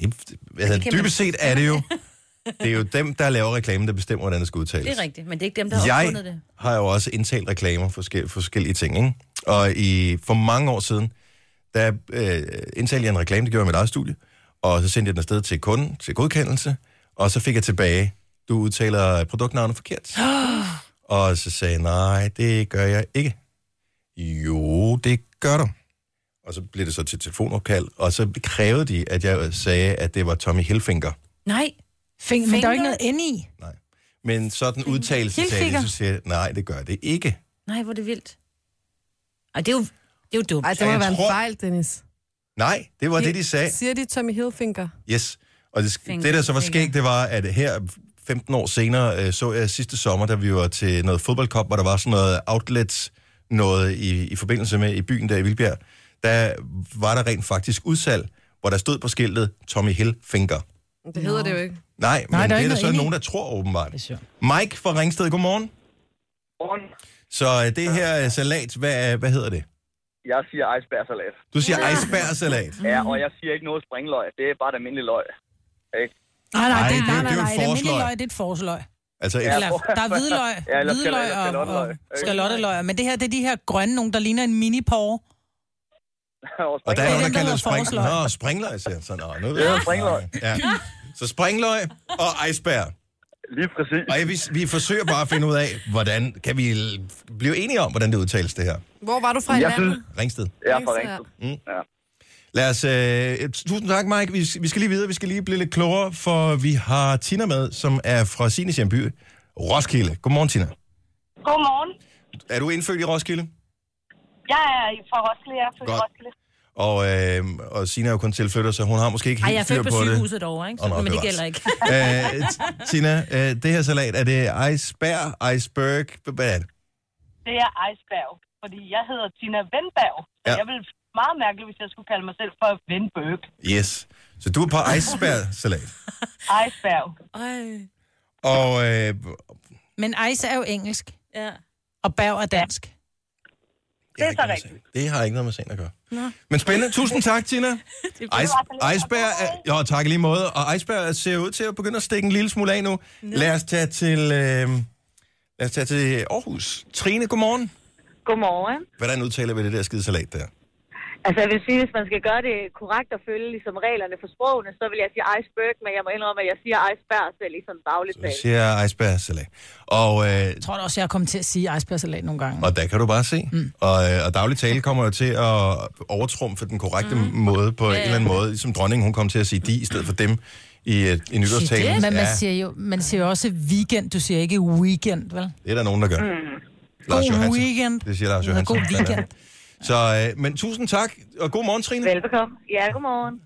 Det, er- altså, kan man- dybest set er det jo... Det er jo dem, der laver reklamen, der bestemmer, hvordan det skal udtales. Det er rigtigt, men det er ikke dem, der har jeg opfundet det. har jo også indtalt reklamer for forskellige, forskellige ting, ikke? Og i, for mange år siden, der øh, indtalte jeg en reklame, det gjorde jeg i mit eget studie, og så sendte jeg den afsted til kunden, til godkendelse, og så fik jeg tilbage, du udtaler produktnavnet forkert. og så sagde jeg, nej, det gør jeg ikke. Jo, det gør du. Og så blev det så til telefonopkald, og så krævede de, at jeg sagde, at det var Tommy Hilfinger. Nej, Fing, men der er jo ikke noget inde i. Nej. Men sådan udtalelse sagde de, Hilfiger. så siger jeg, nej, det gør det ikke. nej, hvor er det vildt. Ej, det er jo, det er jo dumt. Ej, Ej, det må jeg være en tror- fejl, Dennis. Nej, det var det, de sagde. Siger de Tommy Hilfinger? Yes. Og det, Finger, det der så var finger. skægt, det var, at her 15 år senere øh, så jeg sidste sommer, da vi var til noget fodboldkop, hvor der var sådan noget outlets, noget i, i forbindelse med i byen der i Vildbjerg, der var der rent faktisk udsalg, hvor der stod på skiltet Tommy Hilfinger. Det hedder det jo ikke. Nej, Nej men der det er er ikke der noget så inde i. nogen, der tror åbenbart. Det er sjovt. Mike fra Ringsted, godmorgen. Godmorgen. Så øh, det her øh, salat, hvad, øh, hvad hedder det? Jeg siger icebergsalat. Du siger icebergsalat. Ja, og jeg siger ikke noget springløg. Det er bare et almindeligt løg. Ikke? Nej, Ej, nej, det, det- nej, det nej, er jo nej, et det er forsløg. almindelig løg, det er et forsløg. Altså et Eller, der er hvidløg, Ja, eller hvidløg skal- og, skalotteløg. og skalotteløg. Men det her, det er de her grønne nogen, der ligner en mini-porre. Og der er Det er nogen, der dem, der kalder det hedder spring... forsløg. Nå, springløg, siger han så. Nå, nu ved Det er jeg. springløg. Ja. Så springløg og iceberg. Lige præcis. Og vi, vi forsøger bare at finde ud af, hvordan kan vi l- blive enige om, hvordan det udtales, det her. Hvor var du fra i Jeg landet? synes, Ringsted. jeg er fra Ringsted. Lad os... Øh, tusind tak, Mike. Vi, vi skal lige videre. Vi skal lige blive lidt klogere, for vi har Tina med, som er fra Sines hjemby, Roskilde. Godmorgen, Tina. Godmorgen. Er du indfødt i Roskilde? Jeg er fra Roskilde. Jeg er født i Godt. Roskilde. Og, øh, og Sina er jo kun tilflytter, så hun har måske ikke Ej, helt jeg er styr født på på det. sygehuset derovre, ikke? Så, Åh, nå, men det bevares. gælder ikke. Øh, t- Tina, øh, det her salat, er det iceberg, iceberg, hvad er det? Det er Ejsberg. Fordi jeg hedder Tina Vendberg. Så Ja. ja. jeg ville meget mærkeligt, hvis jeg skulle kalde mig selv for Vendbøg. Yes. Så du er på iceberg-salat. Ejsberg. Ej, Og øh, Men ice er jo engelsk, ja. og bær er dansk. det, er så det har ikke noget med sagen at gøre. Nå. Men spændende. Tusind tak, Tina. Ice, iceberg, er, jo, tak i lige måde. Og Iceberg ser ud til at begynde at stikke en lille smule af nu. Lad os tage til, øh, lad os tage til Aarhus. Trine, godmorgen. Godmorgen. Hvordan udtaler vi det der skide salat der? Altså jeg vil sige, hvis man skal gøre det korrekt og følge ligesom reglerne for sprogene, så vil jeg sige iceberg, men jeg må indrømme, at jeg siger iceberg selv i sådan dagligt Du siger iceberg-salat. Og øh, Jeg tror da også, jeg er kommet til at sige icebergsalat nogle gange. Og der kan du bare se. Mm. Og, øh, og daglig tale kommer jo til at overtrumfe den korrekte mm. måde på en eller anden måde. Ligesom dronningen, hun kom til at sige de i stedet for dem i, øh, i nytårstalen. Men man ja, siger jo man siger jo også weekend, du siger ikke weekend, vel? det er der nogen, der gør. Mm. Lars God Johansen. weekend. Det siger Lars Det hedder Johansen. god Han er- weekend. Så, øh, men tusind tak, og god morgen, Trine. Velbekomme. Ja, godmorgen.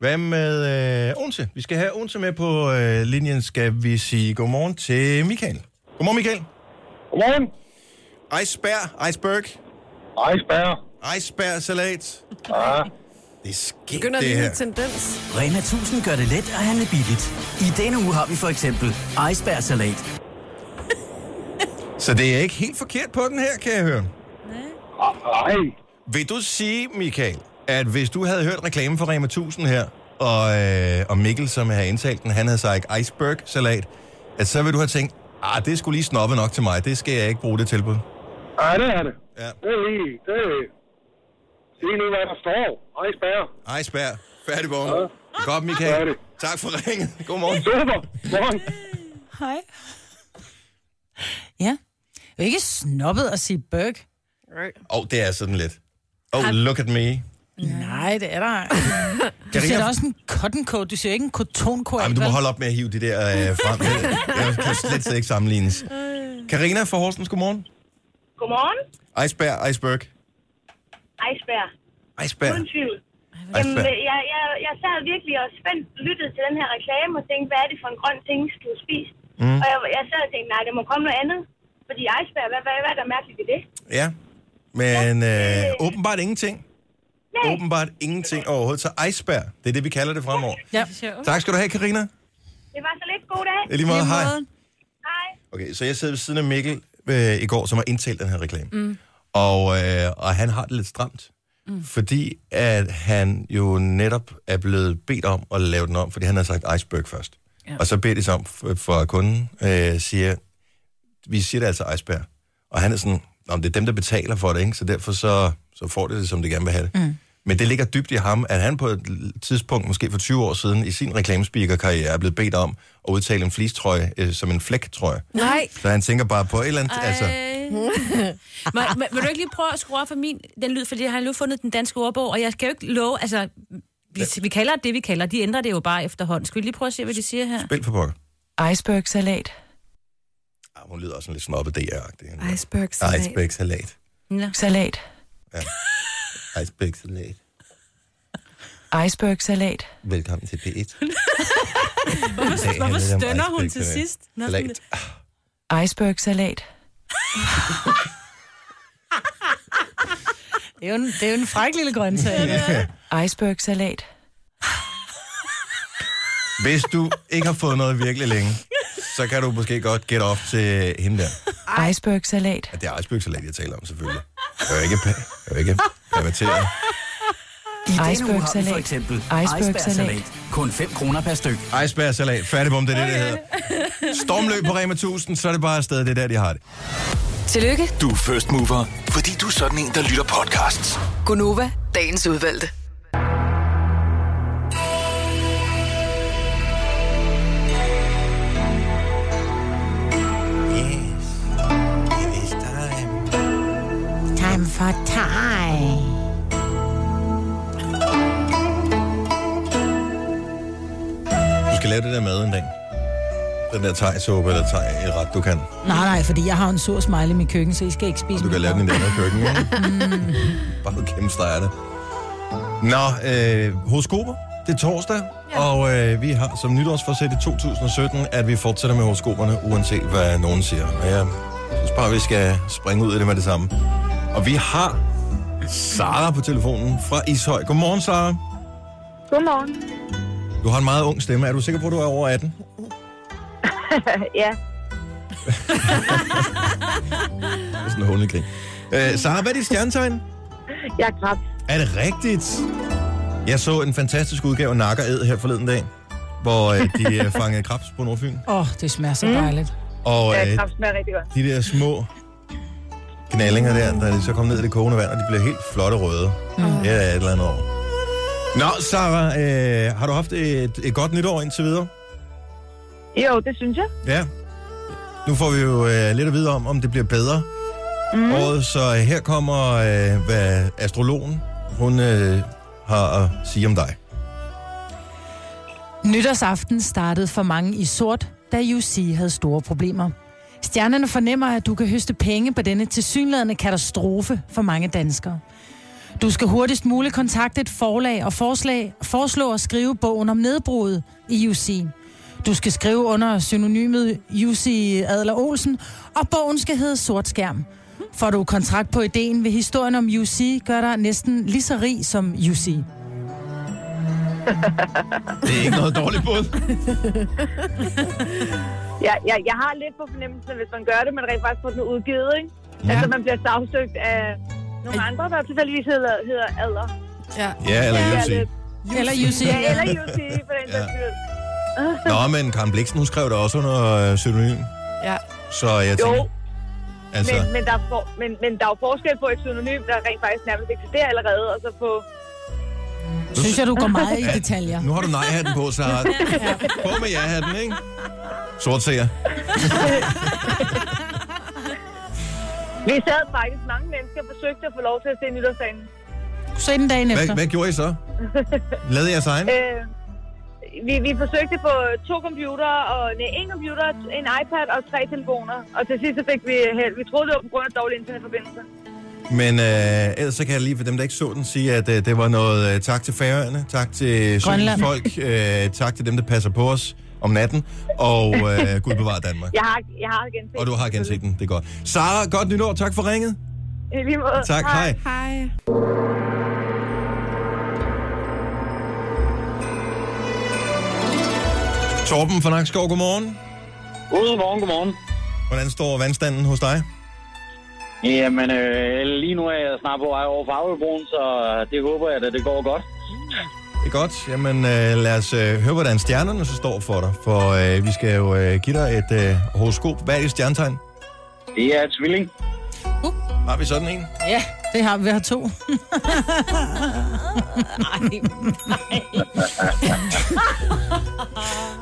Hvad med øh, Onse? Vi skal have Onse med på øh, linjen, skal vi sige godmorgen til Michael. Godmorgen, Michael. Godmorgen. Iceberg, iceberg, Iceberg. iceberg-salat. Ja. Det er skidt, Begynder det lige her. en tendens. Rema 1000 gør det let at handle billigt. I denne uge har vi for eksempel icebergsalat. Så det er ikke helt forkert på den her, kan jeg høre. Ej. Vil du sige, Michael, at hvis du havde hørt reklamen for Rema 1000 her, og, øh, og Mikkel, som har indtalt den, han havde sagt iceberg-salat, at så vil du have tænkt, ah, det skulle lige snoppe nok til mig, det skal jeg ikke bruge det tilbud. Ej, det er det. Ja. Det er lige. Det er Sige nu, hvad der står. Iceberg. Iceberg, færdig vogn. Ja. Godt, Michael. Færdig. Tak for ringen. Godmorgen. Super. Morgen. Hej. Ja. Det er jo ikke snobbet at sige burg. Åh, oh, det er sådan lidt. Oh, look at me. Nej, det er der. ej. Du siger da også en cotton coat. Du siger jo ikke en kotonkoat. Ej, men du må holde op med at hive de der øh, frem. Det- Jeg kan slet ikke sammenlignes. Karina fra Horsens, godmorgen. Godmorgen. Iceberg, iceberg. Ejsberg. Iceberg. tvivl. iceberg. øh, jeg, jeg, jeg sad virkelig og spændt lyttede til den her reklame og tænkte, hvad er det for en grøn ting, du har spist? Mm. Og jeg, jeg sad og tænkte, nej, det må komme noget andet. Fordi Ejsberg, hvad, hvad, hvad er der mærkeligt ved det? Ja, men øh, åbenbart ingenting. Nej. Åbenbart ingenting overhovedet. Så iceberg, det er det, vi kalder det fremover. Ja. Tak skal du have, Karina. Det var så lidt god dag. I lige måde, hej. Hej. Okay, så jeg sidder ved siden af Mikkel øh, i går, som har indtalt den her reklame. Mm. Og, øh, og han har det lidt stramt, mm. fordi at han jo netop er blevet bedt om at lave den om, fordi han har sagt iceberg først. Ja. Og så beder de så om f- for kunden, øh, siger, vi siger det altså iceberg. Og han er sådan, om det er dem, der betaler for det, ikke? så derfor så, så får det det, som de gerne vil have det. Mm. Men det ligger dybt i ham, at han på et l- tidspunkt, måske for 20 år siden, i sin reklamespeaker-karriere, er blevet bedt om at udtale en flistrøje øh, som en flæktrøje. Nej. Så han tænker bare på et eller andet, Ej. altså... må, må, vil du ikke lige prøve at skrue op for min, den lyd, fordi jeg har nu fundet den danske ordbog, og jeg skal jo ikke love, altså, vi, vi kalder det, vi kalder, de ændrer det jo bare efterhånden. Skal vi lige prøve at se, hvad de siger her? Spil for pokker. Iceberg-salat. Ah, hun lyder også sådan lidt snobbet DR-agtig. Iceberg-salat. Iceberg-salat. Salat. Iceberg-salat. Iceberg-salat. Velkommen til P1. Hvorfor- hvorfor stønner hun til sidst? Nå, sådan Salat. Ah. Iceberg-salat. Det er jo en, det er jo en fræk lille grøntsag. Iceberg-salat. Hvis du ikke har fået noget virkelig længe, så kan du måske godt gætte op til hende der. Iceberg-salat. At det er iceberg jeg taler om, selvfølgelig. Jeg er jo ikke, pa- jeg er jo ikke perverteret. I denne uge har vi for eksempel icebergsalat. Kun 5 kroner per styk. Iceberg-salat. Færdig bum, det er det, det hedder. Stormløb på Rema 1000, så er det bare afsted. Det er der, de har det. Tillykke, Du er first mover, fordi du er sådan en, der lytter podcasts. Gunova, dagens udvalgte. Time for time. Du skal lave det der mad en dag. Den der tegsuppe eller teg i ret, du kan. Nej, nej, fordi jeg har en sur smiley i mit køkken, så I skal ikke spise Du kan min lave den i det mad. andet køkken. ikke? Bare du kæmpe streger det. Nå, øh, horoskoper. Det er torsdag, ja. og øh, vi har som nytårsforsæt i 2017, at vi fortsætter med horoskoperne, uanset hvad nogen siger. Og jeg synes bare, vi skal springe ud i det med det samme. Og vi har Sara på telefonen fra Ishøj. Godmorgen, Sara. Godmorgen. Du har en meget ung stemme. Er du sikker på, at du er over 18? ja, Det er sådan en hundekrig. Øh, Sara, hvad er dit stjernetegn? jeg er kræft. Er det rigtigt? Jeg så en fantastisk udgave af Nakker Ed her forleden dag, hvor øh, de øh, fangede krebs på Nordfyn. Åh, oh, det smager så dejligt. Og øh, smager rigtig godt. de der små knallinger der, der de så kom ned i det kogende vand, og de blev helt flotte røde. Mm. Ja, et eller andet år. Nå, Sara, øh, har du haft et, et godt nytår indtil videre? Jo, det synes jeg. Ja. Nu får vi jo øh, lidt at vide om, om det bliver bedre. Mm. Året, så her kommer, øh, hvad astrologen hun øh, har at sige om dig. Nytårsaften startede for mange i sort, da UC havde store problemer. Stjernerne fornemmer, at du kan høste penge på denne tilsyneladende katastrofe for mange danskere. Du skal hurtigst muligt kontakte et forlag og forslag, foreslå at skrive bogen om nedbruddet i UC. Du skal skrive under synonymet UC Adler Olsen, og bogen skal hedde Sort Skærm. Får du kontrakt på ideen, vil historien om UC gøre dig næsten lige så rig som UC. Det er ikke noget dårligt bud. Jeg, jeg, jeg har lidt på fornemmelsen, at hvis man gør det, man rent faktisk får den udgivet, ikke? Ja. Altså, man bliver sagsøgt af nogle andre, der tilfældigvis hedder, hedder Adler. Ja, Ja, eller UC. Eller UC. Ja, eller UC, for den Ja. sags skyld. Nå, men Karen Bliksen, hun skrev det også under øh, pseudonym. Ja. Så jeg Jo, tænker, men, altså, men, der er for, men, men der er jo forskel på et synonym, der rent faktisk nærmest eksisterer allerede, og så på... Synes jeg, du går meget i Ja. detaljer. nu har du nej-hatten på, så på med ja-hatten, ikke? Sort seer. Vi sad faktisk mange mennesker og forsøgte at få lov til at se nytårsdagen. Se den dagen efter. Hvad, hvad gjorde I så? Lavede jeres egen? Øh, vi, vi forsøgte på to computere, og nej, en computer, en iPad og tre telefoner. Og til sidst så fik vi held. Vi troede, det var på grund af dårlig internetforbindelse. Men øh, ellers så kan jeg lige for dem, der ikke så den, sige, at øh, det var noget øh, tak til færøerne, tak til Grønland. folk, øh, tak til dem, der passer på os om natten, og øh, Gud bevare Danmark. Jeg har, jeg har genset. Og du har genset den, det er godt. Sara, godt nytår, tak for ringet. I lige måde. Tak, hej. Hej. Torben fra Nakskov, godmorgen. Godmorgen, godmorgen. Hvordan står vandstanden hos dig? Jamen, øh, lige nu er jeg snart på vej over Faglebroen, så det håber jeg, at det går godt. Det er godt. Jamen, øh, lad os øh, høre, hvordan stjernerne så står for dig. For øh, vi skal jo øh, give dig et øh, horoskop. Hvad er dit stjernetegn? Det er tvilling. Har vi sådan en? Ja, det har vi. Vi har to.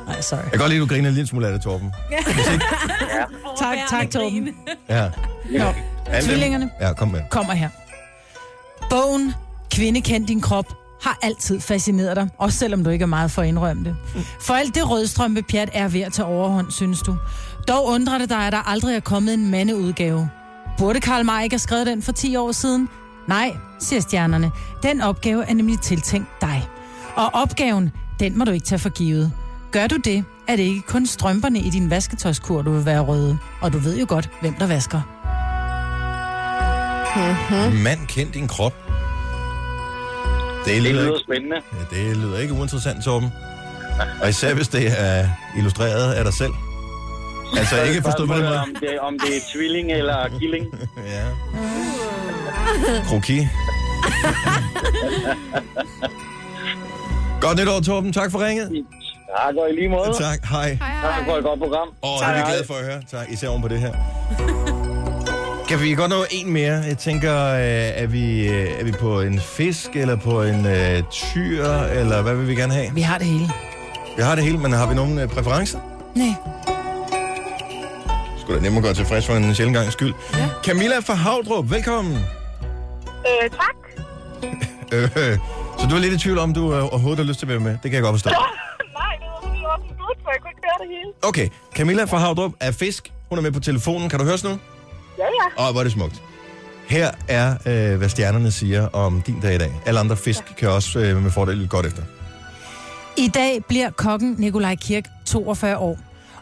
Ej, sorry. Jeg kan godt lide, at du griner en lille smule af det, Torben. Ja. tak, tak, Torben. Ja. Nå, Alle dem- tvillingerne. Ja, kom med. kommer her. Bogen Kvinde kend din krop har altid fascineret dig, også selvom du ikke er meget for at indrømme det. For alt det rødstrømpepjat er ved at tage overhånd, synes du. Dog undrer det dig, at der aldrig er kommet en mandeudgave. Burde Karl May ikke have skrevet den for 10 år siden? Nej, siger stjernerne. Den opgave er nemlig tiltænkt dig. Og opgaven, den må du ikke tage for givet. Gør du det, er det ikke kun strømperne i din vasketøjskur, du vil være røde. Og du ved jo godt, hvem der vasker. Mm. Mand kendt din krop. Det lyder, lyder spændende. Ja, Øh, det lyder ikke uinteressant, Torben. Og især hvis det er illustreret af dig selv. Altså Så er ikke det forstået på den spørgsmålet, måde. Om det, om det er tvilling eller killing. ja. Kroki. Godt nytår, Torben. Tak for ringet. Tak, og i lige måde. Tak, hej. Tak for et godt program. Og det er vi glade for at høre. Tak, især oven på det her. Kan vi godt nå en mere? Jeg tænker, øh, er vi, øh, er vi på en fisk, eller på en øh, tyr, eller hvad vil vi gerne have? Vi har det hele. Vi har det hele, men har vi nogen øh, præferencer? Nej. Skulle da nemmere at gøre tilfreds for en sjældent gang skyld. Ja. Camilla fra Havdrup, velkommen. Øh, tak. Øh, øh, så du er lidt i tvivl om, du øh, overhovedet har lyst til at være med. Det kan jeg godt forstå. Nej, det var fordi, jeg var på skud, så jeg kunne ikke høre det hele. Okay, Camilla fra Havdrup er fisk. Hun er med på telefonen. Kan du høre os nu? Ja, ja. Åh, hvor er det smukt. Her er, øh, hvad stjernerne siger om din dag i dag. Alle andre fisk kan også øh, med fordel lytte godt efter. I dag bliver kokken Nikolaj Kirk 42 år.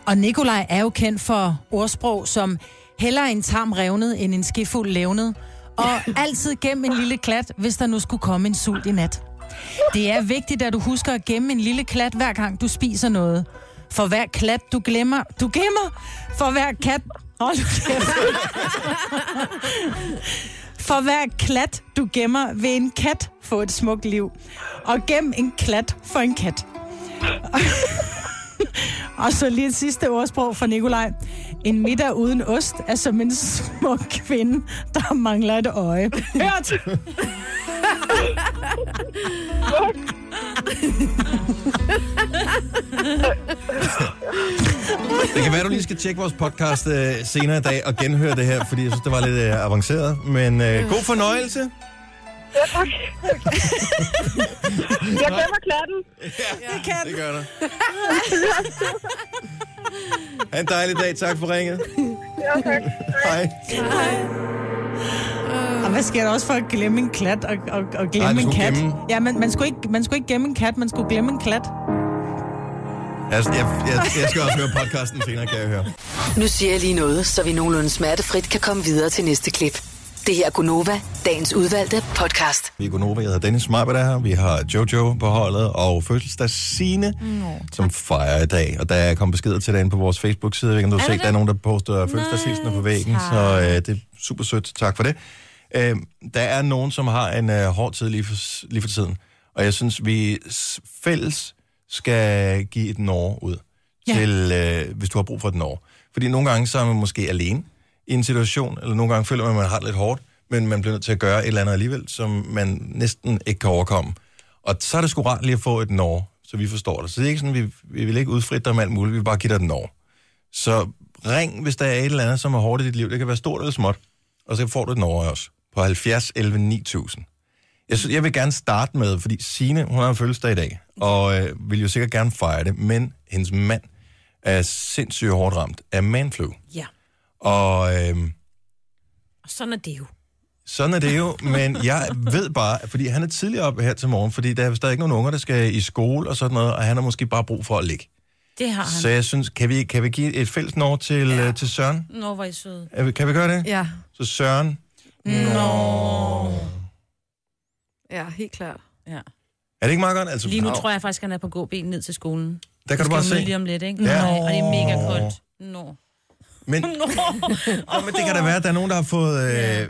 Og Nikolaj er jo kendt for ordsprog som hellere en tarm revnet end en skefuld levnet. Og altid gem en lille klat, hvis der nu skulle komme en sult i nat. Det er vigtigt, at du husker at gemme en lille klat, hver gang du spiser noget. For hver klat, du glemmer, du gemmer, for hver kat... Hold nu kæft. For hver klat, du gemmer, vil en kat få et smukt liv. Og gem en klat for en kat. Og så lige et sidste ordsprog fra Nikolaj. En middag uden ost er som en smuk kvinde, der mangler et øje. Hørt! Det kan være, du lige skal tjekke vores podcast øh, senere i dag og genhøre det her, fordi jeg synes, det var lidt øh, avanceret. Men øh, god fornøjelse. Ja, tak. jeg glemmer klatten. Ja, det kan. Det gør der. Ha' en dejlig dag. Tak for ringet. Ja, tak. Hej. Og hvad sker der også for at glemme en klat og, og, og glemme Nej, du en skulle kat? gemme. Ja, man, man, skulle ikke, man skulle ikke gemme en kat, man skulle glemme en klat. Altså, jeg, jeg, jeg skal også høre podcasten senere, kan jeg høre. Nu siger jeg lige noget, så vi nogenlunde smertefrit kan komme videre til næste klip. Det her er Gunova, dagens udvalgte podcast. Vi er Gunova, jeg hedder Dennis Marbert er her. Vi har Jojo på holdet og fødselsdags Signe, mm, som fejrer i dag. Og der er kommet beskeder til derinde på vores Facebook-side. Jeg ved ikke, om du Er har der set, det? der er nogen, der poster fødselsdagshilsener øh, på væggen. tak. Så øh, det er super sødt. Tak for det. Øh, der er nogen, som har en øh, hård tid lige for, lige for tiden. Og jeg synes, vi s- fælles skal give et år ud. Ja. Til, øh, hvis du har brug for et år. Fordi nogle gange så er man måske alene i en situation, eller nogle gange føler man, at man har det lidt hårdt, men man bliver nødt til at gøre et eller andet alligevel, som man næsten ikke kan overkomme. Og så er det sgu rart lige at få et når, så vi forstår det. Så det er ikke sådan, vi, vi vil ikke udfritte dig med alt muligt, vi vil bare give dig et når. Så ring, hvis der er et eller andet, som er hårdt i dit liv. Det kan være stort eller småt. Og så får du et når af os på 70 11 9000. Jeg, synes, jeg vil gerne starte med, fordi Sine, hun har en fødselsdag i dag, og øh, vil jo sikkert gerne fejre det, men hendes mand er sindssygt hårdt ramt af manflu. Ja, Og øh, og sådan er det jo. sådan er det jo, men jeg ved bare, fordi han er tidligere op her til morgen, fordi der er stadig ikke nogen unger, der skal i skole og sådan noget, og han har måske bare brug for at ligge. Det har han. Så jeg synes, kan vi, kan vi give et fælles når til, ja. til Søren? Nå, hvor er I søde. Er vi- Kan vi gøre det? Ja. Så Søren, Ja, helt klart. Ja. er det ikke meget godt? Altså, Lige nu Nå. tror jeg faktisk, han er på god ben ned til skolen. Der kan Vi du bare skal jo møde se. Lige om lidt, ikke? Ja. Nej, og det er mega koldt. Nå. Men, Nå, men det kan da være, at der er nogen, der har fået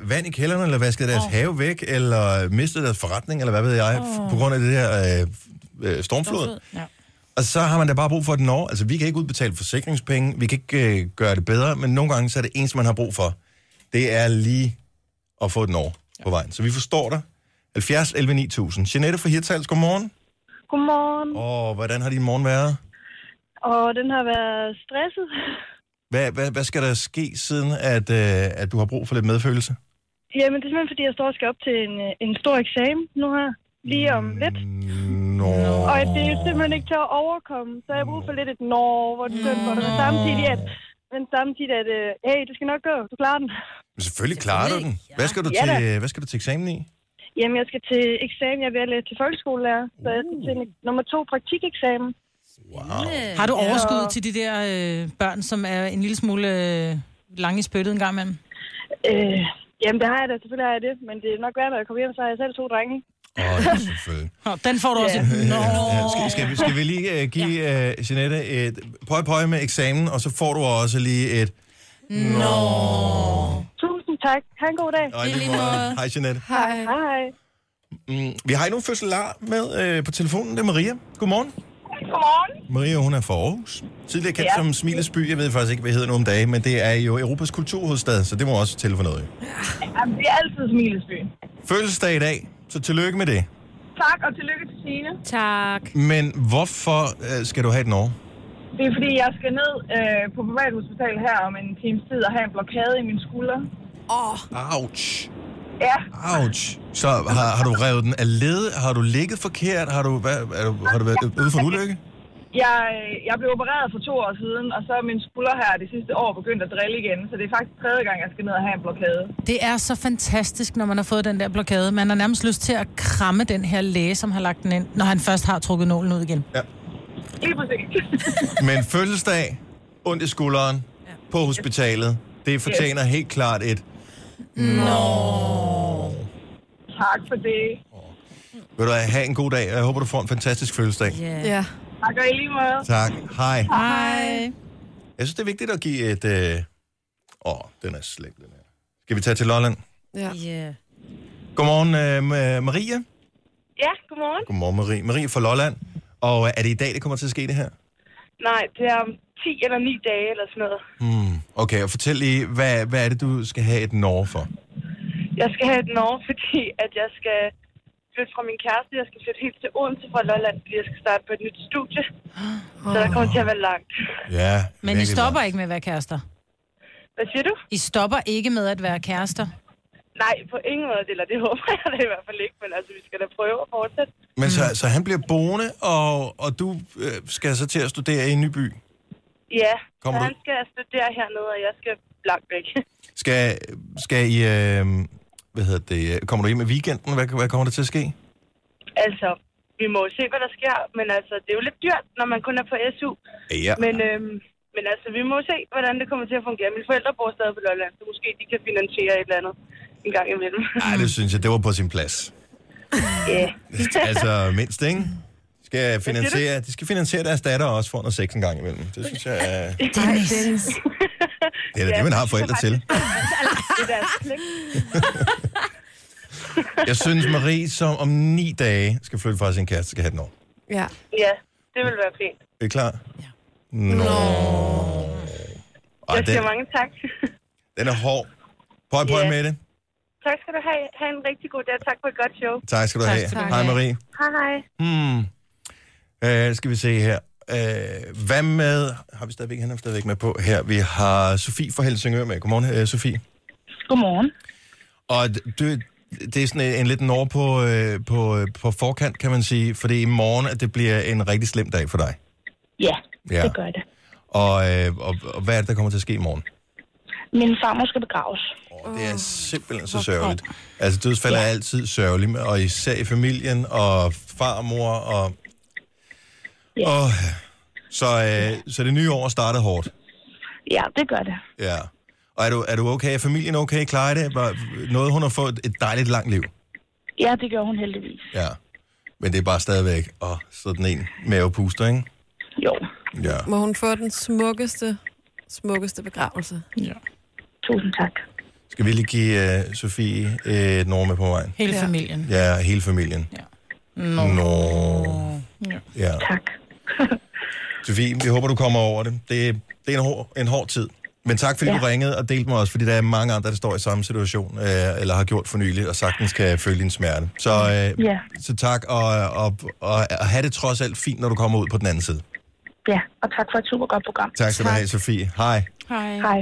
øh, vand i kælderen, eller vasket deres oh. have væk, eller mistet deres forretning, eller hvad ved jeg, oh. Åh. på grund af det her øh, øh, stormflod. Ja. Og så har man da bare brug for et når. Altså, vi kan ikke udbetale forsikringspenge, vi kan ikke øh, gøre det bedre, men nogle gange, så er det eneste, man har brug for, det er lige at få et når på vejen. Så vi forstår dig. 70 11 9000. Jeanette fra Hirtals, godmorgen. Godmorgen. Og hvordan har din morgen været? Og den har været stresset. Hvad, hvad, hvad skal der ske, siden at, øh, at du har brug for lidt medfølelse? Jamen, det er simpelthen, fordi jeg står og skal op til en, øh, en stor eksamen nu her. Lige om lidt. Nå. Og det er simpelthen ikke til at overkomme. Så jeg har brug for lidt et når, hvor du kører for det. Men samtidig at, men samtidig at øh, hey, du skal nok gå, du klarer den. Men selvfølgelig klarer du den. Hvad skal du, Ja da. til, øh, hvad skal du til eksamen i? Jamen, jeg skal til eksamen. Jeg er ved at læse til folkeskolelærer. Så jeg skal til en- nummer to praktikeksamen. Wow. Har du Ja. overskud til de der øh, børn, som er en lille smule øh, lange i spyttet en gang imellem? Øh, jamen, det har jeg da. Selvfølgelig har jeg det. Men det er nok værd, når jeg kommer hjem, så har jeg selv to drenge. Nå, den får du også. Ja. et- Nå. Ja, skal, skal, vi, skal vi lige uh, give uh, Jeanette et pøj pøj med eksamen, og så får du også lige et... Nå. Tusind tak. Ha' en god dag. Og i lige måde. Hej, Jeanette. Hej. Hej. Mm, vi har endnu en fødselar med uh, på telefonen. Det er Maria. Godmorgen. Godmorgen. Maria, hun er fra Aarhus. Tidligere kendt Ja. ja. som Smilets by. Jeg ved faktisk ikke, hvad hedder nu om dagen, men det er jo Europas kulturhovedstad, så det må også tælle for noget. jo. Jamen, det er altid Smilesby. Fødselsdag i dag, så tillykke med det. Tak, og tillykke til Signe. Tak. Men hvorfor uh, skal du have et Norge? Det er fordi, jeg skal ned øh, på privathospital her om en times tid og have en blokade i min skulder. Åh. Oh. Ouch. Ja. Ouch. Så har, har du revet den af led? Har du ligget forkert? Har du, hvad, er du, har du været ude for en ulykke? Jeg, øh, jeg blev opereret for to år siden, og så er min skulder her det sidste år begyndt at drille igen. Så det er faktisk tredje gang, jeg skal ned og have en blokade. Det er så fantastisk, når man har fået den der blokade. Man har nærmest lyst til at kramme den her læge, som har lagt den ind, når han først har trukket nålen ud igen. Ja. Lige præcis. Men fødselsdag, ondt i skulderen, på hospitalet, det fortjener helt klart et... Tak for det. Vil du have en god dag, og jeg håber, du får en fantastisk fødselsdag. Ja. Tak og i lige måde. Tak. Hej. Hej. Jeg synes, det er vigtigt at give et... Åh, øh... oh, den er slem, den her. Skal vi tage til Lolland? Ja. Yeah. Godmorgen, øh, Ma- Maria. Ja, godmorgen. Godmorgen, Marie. Marie fra Lolland. Og øh, er det i dag, det kommer til at ske det her? Nej, det er om 10 eller 9 dage eller sådan noget. Hmm. Okay, og fortæl lige, hvad, hvad er det, du skal have et Norge for? Jeg skal have et Norge, fordi at jeg skal flytte fra min kæreste. Jeg skal flytte helt til Odense fra Lolland, fordi jeg skal starte på et nyt studie. Så der kommer til at være langt. Ja, Men I virkelig stopper ikke med at være kærester? Hvad siger du? I stopper ikke med at være kærester? Nej, på ingen måde, eller det håber jeg da i hvert fald ikke, men altså, vi skal da prøve at fortsætte. meget. Men så, så han bliver boende, og, og du øh, skal så til at studere i en ny by. Ja, Kommer så du- han skal studere hernede, og jeg skal langt væk. Skal, skal I... Øh, hvad hedder det? øh, Kommer du hjem i weekenden? Hvad, hvad kommer der til at ske? altså, vi må jo se, hvad der sker, men altså, det er jo lidt dyrt, når man kun er på SU. Ja. Men, øhm, men altså, vi må se, hvordan det kommer til at fungere. Mine forældre bor stadig på Lolland, så måske de kan finansiere et eller andet en gang imellem. Nej, det synes jeg, det var på sin plads. Ja. altså, mindst, ikke? De Skal finansiere, de skal finansiere deres datter også for noget sex en gang imellem. Det synes jeg er... Dennis. Det er da det, man har forældre til. Det er deres pligt. Jeg synes, Marie, som om ni dage skal flytte fra sin kæreste, skal have den over. Ja. Ja, det vil være fint. Er I klar? Ja. Nå. Ej, Jeg den, siger mange tak. den er hård. Pøj, pøj Ja. med det. Tak skal du have. Ha' en rigtig god dag. Tak for et godt show. Tak skal du have. Hej, Marie. Hej, hej. Hmm. Øh, skal vi se her. Øh, hvad med... Har vi stadigvæk, han er stadigvæk med på her. Vi har Sofie fra Helsingør med. Godmorgen, øh, Sofie. Godmorgen. Og det, det er sådan en, en lidt over på, øh, på, øh, på forkant, kan man sige. For det er i morgen, at det bliver en rigtig slem dag for dig. Ja, Ja. ja, det gør det. Og, øh, og, og hvad er det, der kommer til at ske i morgen? Min farmor skal begraves. Det er simpelthen så sørgeligt. Altså, dødsfald er altid sørgeligt, og især i familien, og far og mor, og... Ja. og så, øh, så det nye år startede hårdt. Ja, det gør det. Ja. Og er du, er du okay? Er familien okay? Klarer I det? Var noget, hun har fået et dejligt langt liv. Ja, det gør hun heldigvis. Ja. Men det er bare stadigvæk, og sådan en mavepuster, ikke? Jo. Ja. Må hun få den smukkeste smukkeste begravelse. Ja. Tusind tak. Skal vi lige give uh, Sofie uh, et nummer med på vejen? Hele ja. familien. Ja, hele familien. Ja. Nå. Nå. Ja. Ja. Tak. Sofie, vi håber, du kommer over det. Det, det er en hård, en hård tid. Men tak, fordi ja. Ja. du ringede og delte med os, fordi der er mange andre, der står i samme situation, øh, eller har gjort for nylig, og sagtens kan føle din smerte. Så, øh, Ja. så tak, og, og, og, og have det trods alt fint, når du kommer ud på den anden side. Ja, og tak for et super godt program. Tak skal du have, Sofie. Hej. Hej. Hej.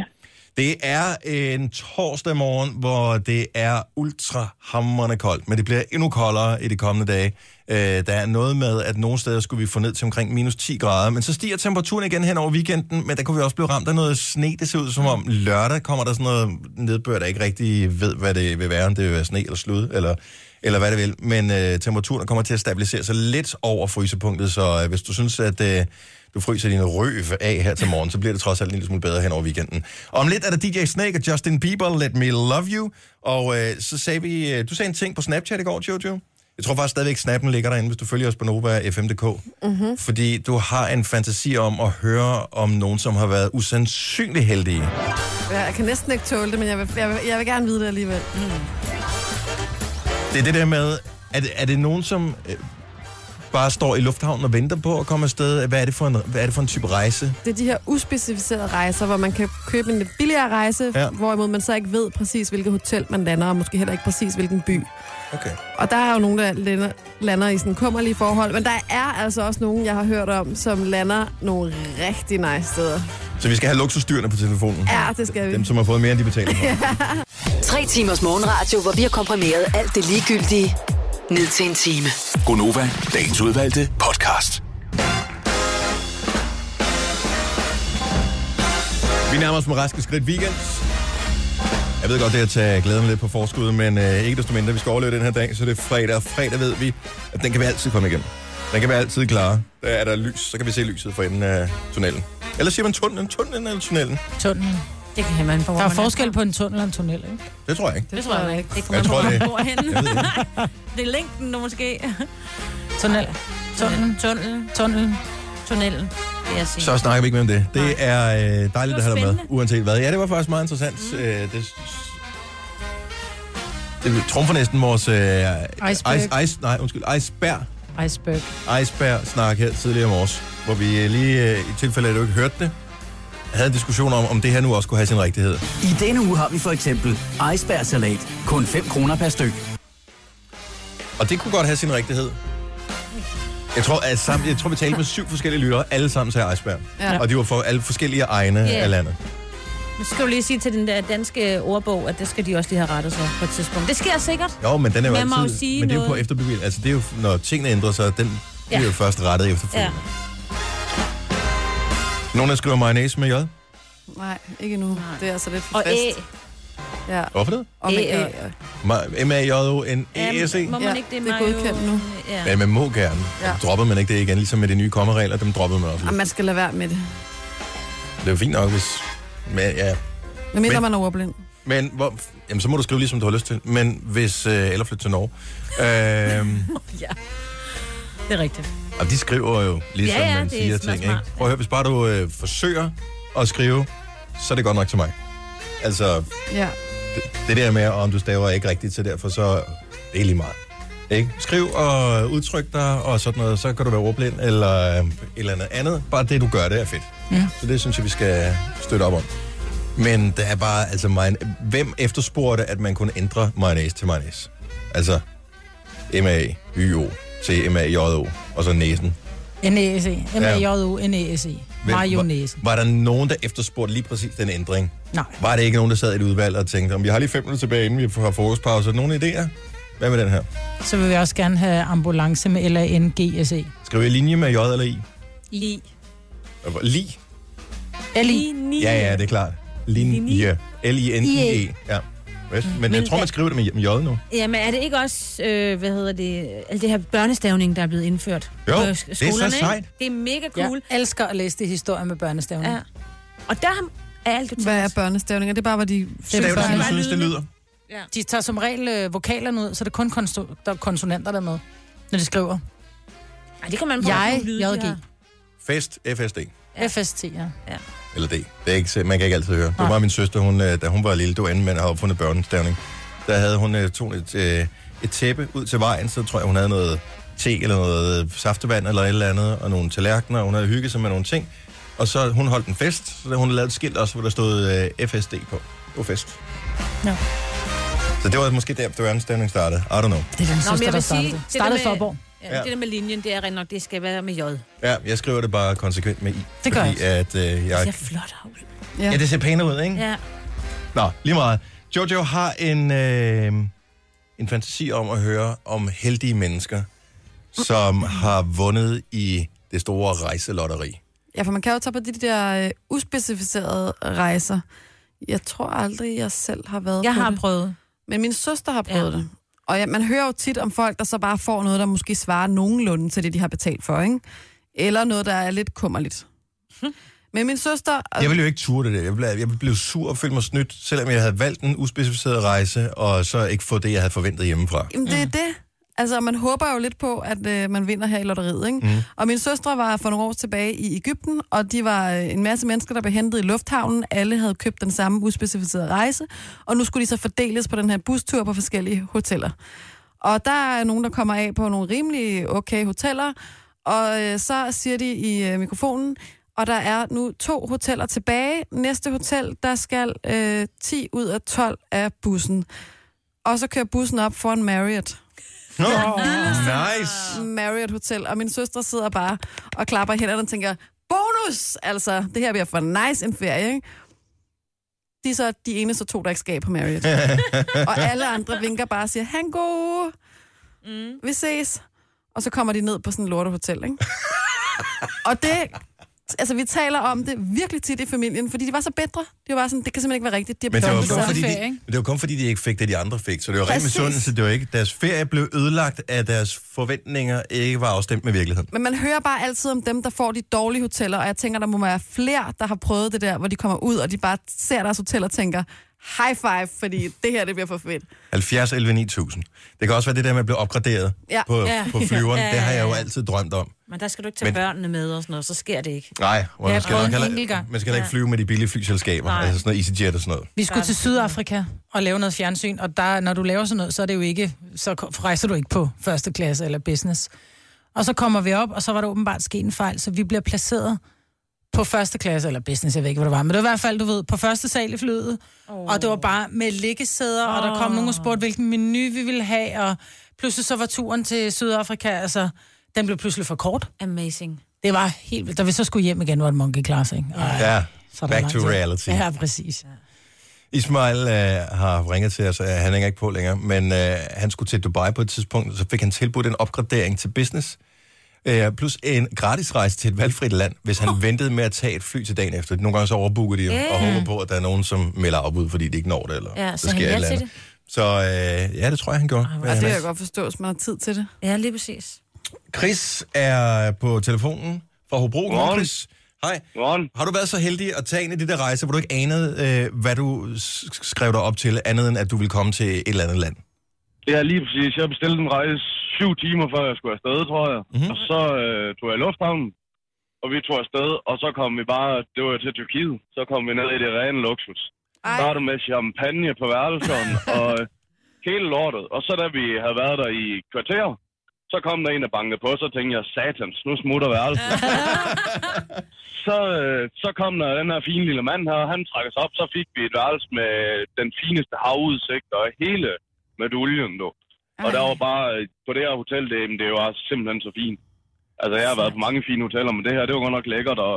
Det er en torsdag morgen, hvor det er ultra hammerende koldt, men det bliver endnu koldere i de kommende dage. Øh, der er noget med, at nogle steder skulle vi få ned til omkring minus 10 grader, men så stiger temperaturen igen hen over weekenden, men der kunne vi også blive ramt af noget sne. Det ser ud som om lørdag kommer der sådan noget nedbør, der ikke rigtig ved, hvad det vil være, om det vil være sne eller slud, eller, eller hvad det vil. Men øh, temperaturen kommer til at stabilisere sig lidt over frysepunktet, så øh, hvis du synes, at... Øh, du fryser din røv af her til morgen, så bliver det trods alt en lille smule bedre hen over weekenden. Om lidt er der DJ Snake og Justin Bieber, Let Me Love You. Og øh, så sagde vi, øh, du sagde en ting på Snapchat i går, Jojo. Jeg tror faktisk stadigvæk, snappen ligger derinde, hvis du følger os på Nova FM.dk. Mm-hmm. Fordi du har en fantasi om at høre om nogen, som har været usandsynlig heldige. Ja, Jeg kan næsten ikke tåle det, men jeg vil, jeg vil, jeg vil gerne vide det alligevel. Mm. Det er det der med, er det, er det nogen, som øh, bare står i lufthavnen og venter på at komme afsted? Hvad er det for en, hvad er det for en type rejse? Det er de her uspecificerede rejser, hvor man kan købe en lidt billigere rejse, Ja. ja. hvorimod man så ikke ved præcis, hvilket hotel man lander, og måske heller ikke præcis, hvilken by. Okay. Og der er jo nogen, der lander, lander i sådan kummerlige forhold, men der er altså også nogen, jeg har hørt om, som lander nogle rigtig nice steder. Så vi skal have luksusdyrene på telefonen. Ja, det skal vi. Dem, som har fået mere, end de betaler for. Tre timers morgenradio, hvor vi har komprimeret alt det ligegyldige ned til en time. Gonova, dagens udvalgte podcast. Vi nærmer os med raske skridt weekend. Jeg ved godt, det er at tage glæden lidt på forskud, men øh, ikke desto mindre, vi skal overleve den her dag, så det er fredag. Og fredag ved vi, at den kan vi altid komme igen. Den kan vi altid klare. Der er der lys, så kan vi se lyset for enden af tunnelen. Eller siger man tunnelen, tunnelen eller tunnelen? Tunnelen. Det kan man på, Der er forskel på en tunnel og en tunnel, ikke? Det tror jeg ikke. Det tror jeg ikke. Det kommer Jeg an på, tror, hvor det- man bor henne. det er længden nu måske. Tunnel. Tunnelen. Tunnelen. Tunnelen. Tunnelen. Det jeg siger. Så snakker vi ikke mere om det. Det er øh, dejligt at have dig med, spændende. uanset hvad. Ja, det var faktisk meget interessant. Mm. Øh, det, det trumfer næsten vores... Øh, Iceberg. Ice, ice, nej, undskyld. Iceberg. Iceberg. Iceberg-snak her tidligere om års, hvor vi øh, lige, øh, i tilfælde af, at du ikke hørte det, havde en diskussion om, om det her nu også kunne have sin rigtighed. I denne uge har vi for eksempel icebergsalat kun 5 kroner per styk. Og det kunne godt have sin rigtighed. Jeg tror, at sammen, jeg tror vi talte med syv forskellige lyttere, alle sammen sagde Iceberg. Ja. Ja. Og de var for alle forskellige egne Ja. yeah. af landet. Men så skal du lige sige til den der danske ordbog, at det skal de også lige have rettet sig på et tidspunkt. Det sker sikkert. Jo, men den er jo Man må altid, jo sige men det er jo på noget. efterbevilling. Altså, det er jo, når tingene ændrer sig, den bliver Ja. jo først rettet efterfølgende. Ja. Ja. Nogen, der skriver mayonnaise med J. Nej, ikke nu. Nej. Det er altså lidt for Og fast. æ. Ja. Hvorfor det? Og med Æ, æ. og- Ma- M-A-J-O-N-E-S-E. Må man Ja, ikke det? det er mayo- godkendt nu. Ja. E Ja, man må gerne. Ja. Ja. Droppede man ikke det igen, ligesom med de nye kommeregler, dem droppede man også. Og man skal lade være med det. Det er jo fint nok, hvis... Men, ja. Når mindre Men- man er ordblind. Men hvor, jamen, så må du skrive ligesom du har lyst til. Men hvis... Øh, eller flytte til Norge. Øh, ja. Det er rigtigt. og de skriver jo, ligesom Ja, ja, man det er siger smart, ting. Ikke? smart. Prøv at høre, hvis bare du øh, forsøger at skrive, så er det godt nok til mig. Altså, Ja. det, det der med, om du staver ikke rigtigt til derfor, så det er lige meget. Ikke? Skriv og udtryk dig og sådan noget, så kan du være ordblind eller øh, et eller andet andet. Bare det, du gør, det er fedt. Ja. Så det synes jeg, vi skal støtte op om. Men der er bare, altså, mayon... hvem efterspurgte, at man kunne ændre mayonnaise til mayonnaise? Altså, M-A-Y-O til M-A-J-O, og så næsen. N-E-S-E. M-A-J-O-N-E-S-E. Hvem- Mayonnaise. Var, var der nogen, der efterspurgte lige præcis den ændring? Nej. Var det ikke nogen, der sad i et udvalg og tænkte, om vi har lige fem minutter tilbage, inden vi har frokostpause. Nogle idéer? Hvad med den her? Så vil vi også gerne have ambulance med L-A-N-G-S-E. Skriver jeg linje med J eller I? I. Lige? L-I. Ja, ja, det er klart. Linje. L-I-N-I-E. E. Ja. Vest. Men jeg Men tror, man hvad- skriver det med J- med J nu. Ja, men er det ikke også, øh, hvad hedder det, al det her børnestavning, der er blevet indført? Jo, på det er sk- så skolerne, ikke? sejt. Det er mega cool. Cool. Jeg elsker at læse det historie med børnestavning. Ja. Og der er alt jo Hvad er børnestævninger? Det er bare, hvor de... Stav det, som du Bare synes, det lydene. lyder. Ja. De tager som regel øh, vokalerne ud, så det er kun konso- der er konsonanter der er med, når de skriver. Ej, det kan man Jeg, JG, Fest, FSD. FST, ja. ja. Eller D. Det er ikke, så- man kan ikke altid høre. Det var bare min søster, hun, øh, da hun var lille, det var anden mand, har opfundet børnestavning. Der havde hun øh, tog et, øh, et tæppe ud til vejen, så tror jeg, hun havde noget te eller noget øh, saftevand eller et eller andet, og nogle tallerkener, og hun havde hygget sig med nogle ting. Og så hun holdt en fest, så da hun lavede et skilt også, hvor der stod øh, FSD på. Det var fest. Nå. Så det var måske der, børnestavning startede. I don't know. Det er den Nå, men søster, jeg der vil startede. sige, Sige, det der startede med- Forborg. Ja. Det der med linjen, det er rent nok, det skal være med J. Ja, jeg skriver det bare konsekvent med I. Det gør fordi at, øh, Det jeg... ser flot ud. Ja, det ser pænere ud, ikke? Ja. Nå, lige meget. Jojo har en, øh, en fantasi om at høre om heldige mennesker, som har vundet i det store rejselotteri. Ja, for man kan jo tage på de der øh, uspecificerede rejser. Jeg tror aldrig, jeg selv har været Jeg på har det. prøvet. Men min søster har prøvet ja. det. Og ja, man hører jo tit om folk, der så bare får noget, der måske svarer nogenlunde til det, de har betalt for, ikke? Eller noget, der er lidt kummerligt. Hm. Men min søster... Jeg ville jo ikke ture det der. Jeg ville, jeg ville blive sur og føle mig snydt, selvom jeg havde valgt en uspecificeret rejse, og så ikke få det, jeg havde forventet hjemmefra. Jamen, det er det. Altså, man håber jo lidt på, at øh, man vinder her i lotteriet, ikke? Mm. Mm. Og min søstre var for nogle år tilbage i Ægypten, og de var øh, en masse mennesker, der blev hentet i lufthavnen. Alle havde købt den samme uspecificerede rejse, og nu skulle de så fordeles på den her bustur på forskellige hoteller. Og der er nogen, der kommer af på nogle rimelig okay hoteller, og øh, så siger de i øh, mikrofonen, og der er nu to hoteller tilbage. Næste hotel, der skal øh, 10 ud af 12 af bussen. Og så kører bussen op foran Marriott. Nå, nice. Marriott Hotel, og min søster sidder bare og klapper i hænderne og tænker, bonus! Altså, det her bliver for nice en ferie, ikke? De er så de eneste to, der ikke skal på Marriott. og alle andre vinker bare og siger, han go! Mm. Vi ses. Og så kommer de ned på sådan et lortehotel, ikke? og det, altså vi taler om det virkelig tit i familien, fordi de var så bedre. De var bare sådan, det kan simpelthen ikke være rigtigt. De har Men det, var betalt kun, for fordi ferie, de, ikke? men det var kun fordi, de ikke fik det, de andre fik. Så det var rent Præcis. misundelse. Det var ikke, deres ferie blev ødelagt, at deres forventninger ikke var afstemt med virkeligheden. Men man hører bare altid om dem, der får de dårlige hoteller, og jeg tænker, der må være flere, der har prøvet det der, hvor de kommer ud, og de bare ser deres hotel og tænker, high five, fordi det her, det bliver for fedt. 70, 11, 9000. Det kan også være det der med at blive opgraderet Ja. på, Ja. på flyveren. Ja, ja, Det har jeg jo ja. altid drømt om. Men der skal du ikke tage Men- Men... børnene med og sådan noget, så sker det ikke. Nej, og Jeg man har skal, prøvet nok en heller, enkelt gang. man skal heller ikke Ja. flyve med de billige flyselskaber. Nej. Altså sådan noget EasyJet og sådan noget. Vi skulle til Sydafrika og lave noget fjernsyn, og der, når du laver sådan noget, så er det jo ikke, så ko- rejser du ikke på første klasse eller business. Og så kommer vi op, og så var der åbenbart sket en fejl, så vi bliver placeret på første klasse, eller business, jeg ved ikke, hvad det var, men det var i hvert fald, du ved, på første sal i flyet, oh. og det var bare med liggesæder, oh. og der kom nogen og spurgte, hvilken menu vi ville have, og pludselig så var turen til Sydafrika, altså, den blev pludselig for kort. Amazing. Det var helt vildt. Da vi så skulle hjem igen, var det monkey class, ikke? Ej, Ja, så er der back lang to tid. reality. Ja, præcis. Ismail øh, har ringet til os, øh, han hænger ikke på længere, men øh, han skulle til Dubai på et tidspunkt, og så fik han tilbudt en opgradering til business, øh, plus en gratis rejse til et valgfrit land, hvis han ventede med at tage et fly til dagen efter. Nogle gange så overbooker de jo, og Mm. håber på, at der er nogen, som melder afbud, fordi de ikke når det, eller Ja, der så han sker et hjalp eller til andet. Så øh, ja, det tror jeg, han gjorde. Og det kan jeg godt forstå, hvis man har tid til det. Ja, lige præcis. Chris er på telefonen fra Hobro. Godmorgen, Godmorgen. Chris. Hej. Godmorgen. Har du været så heldig at tage en af de der rejser, hvor du ikke anede, øh, hvad du s- skrev dig op til, andet end at du ville komme til et eller andet land? Ja, lige præcis. Jeg bestilte en rejse syv timer, før jeg skulle afsted, tror jeg. Mm-hmm. Og så øh, tog jeg i lufthavnen, og vi tog afsted, og så kom vi bare, det var til Tyrkiet, så kom vi ned i det rene luksus. Der var det med champagne på værelserne, og øh, hele lortet. Og så da vi havde været der i et kvarter, så kom der en, der bankede på, så tænkte jeg, satans, nu smutter værelset. så, øh, så kom der den her fine lille mand her, han trak os op, så fik vi et værelse med den fineste havudsigt og hele meduljen, du. Og der var bare, øh, på det her hotel, det, jamen, det var simpelthen så fint. Altså, jeg har været på mange fine hoteller, men det her, det var godt nok lækkert, og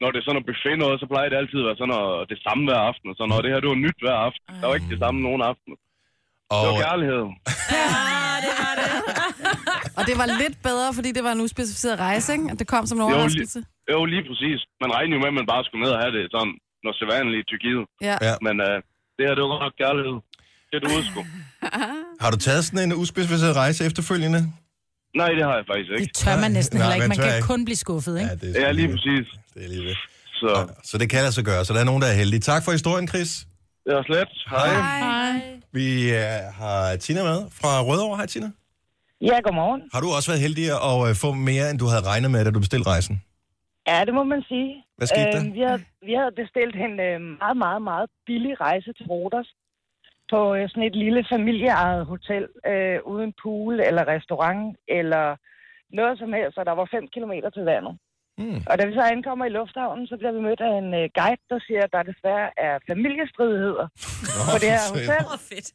når det er sådan noget buffet noget, så plejer det altid at være sådan noget, det samme hver aften, og sådan noget. Det her, det var nyt hver aften. Der var ikke det samme nogen aften. Og... Det var kærlighed. Og det var lidt bedre, fordi det var en uspecificeret rejse, ikke? Og det kom som en Jo, overraskelse. lige, jo, lige præcis. Man regner jo med, at man bare skulle ned og have det sådan, når sædvanligt i Tyrkiet. Ja. Ja. Men øh, det her, det var godt nok kærlighed. Det du sgu. Har du taget sådan en uspecificeret rejse efterfølgende? Nej, det har jeg faktisk ikke. Det Tør man næsten heller ikke. Man tør kan kun blive skuffet, ikke? Det er ja, lige præcis. Det er lige ved. Så. så det kan altså gøre, så der er nogen, der er heldige. Tak for historien, Chris. Det var slet. Hej. Hej. Vi øh, har Tina med fra Rødovre. Hej, Tina. Ja, godmorgen. Har du også været heldig at øh, få mere, end du havde regnet med, da du bestilte rejsen? Ja, det må man sige. Hvad skete der? Øhm, Øh, vi, havde, vi havde bestilt en øh, meget, meget, meget billig rejse til Rodos på øh, sådan et lille familieejet hotel øh, uden pool eller restaurant eller noget som helst, og der var 5 km til vandet. Mm. Og da vi så ankommer i lufthavnen, så bliver vi mødt af en øh, guide, der siger, at der desværre er familiestridigheder på det her for hotel. sødt. Åh, fedt.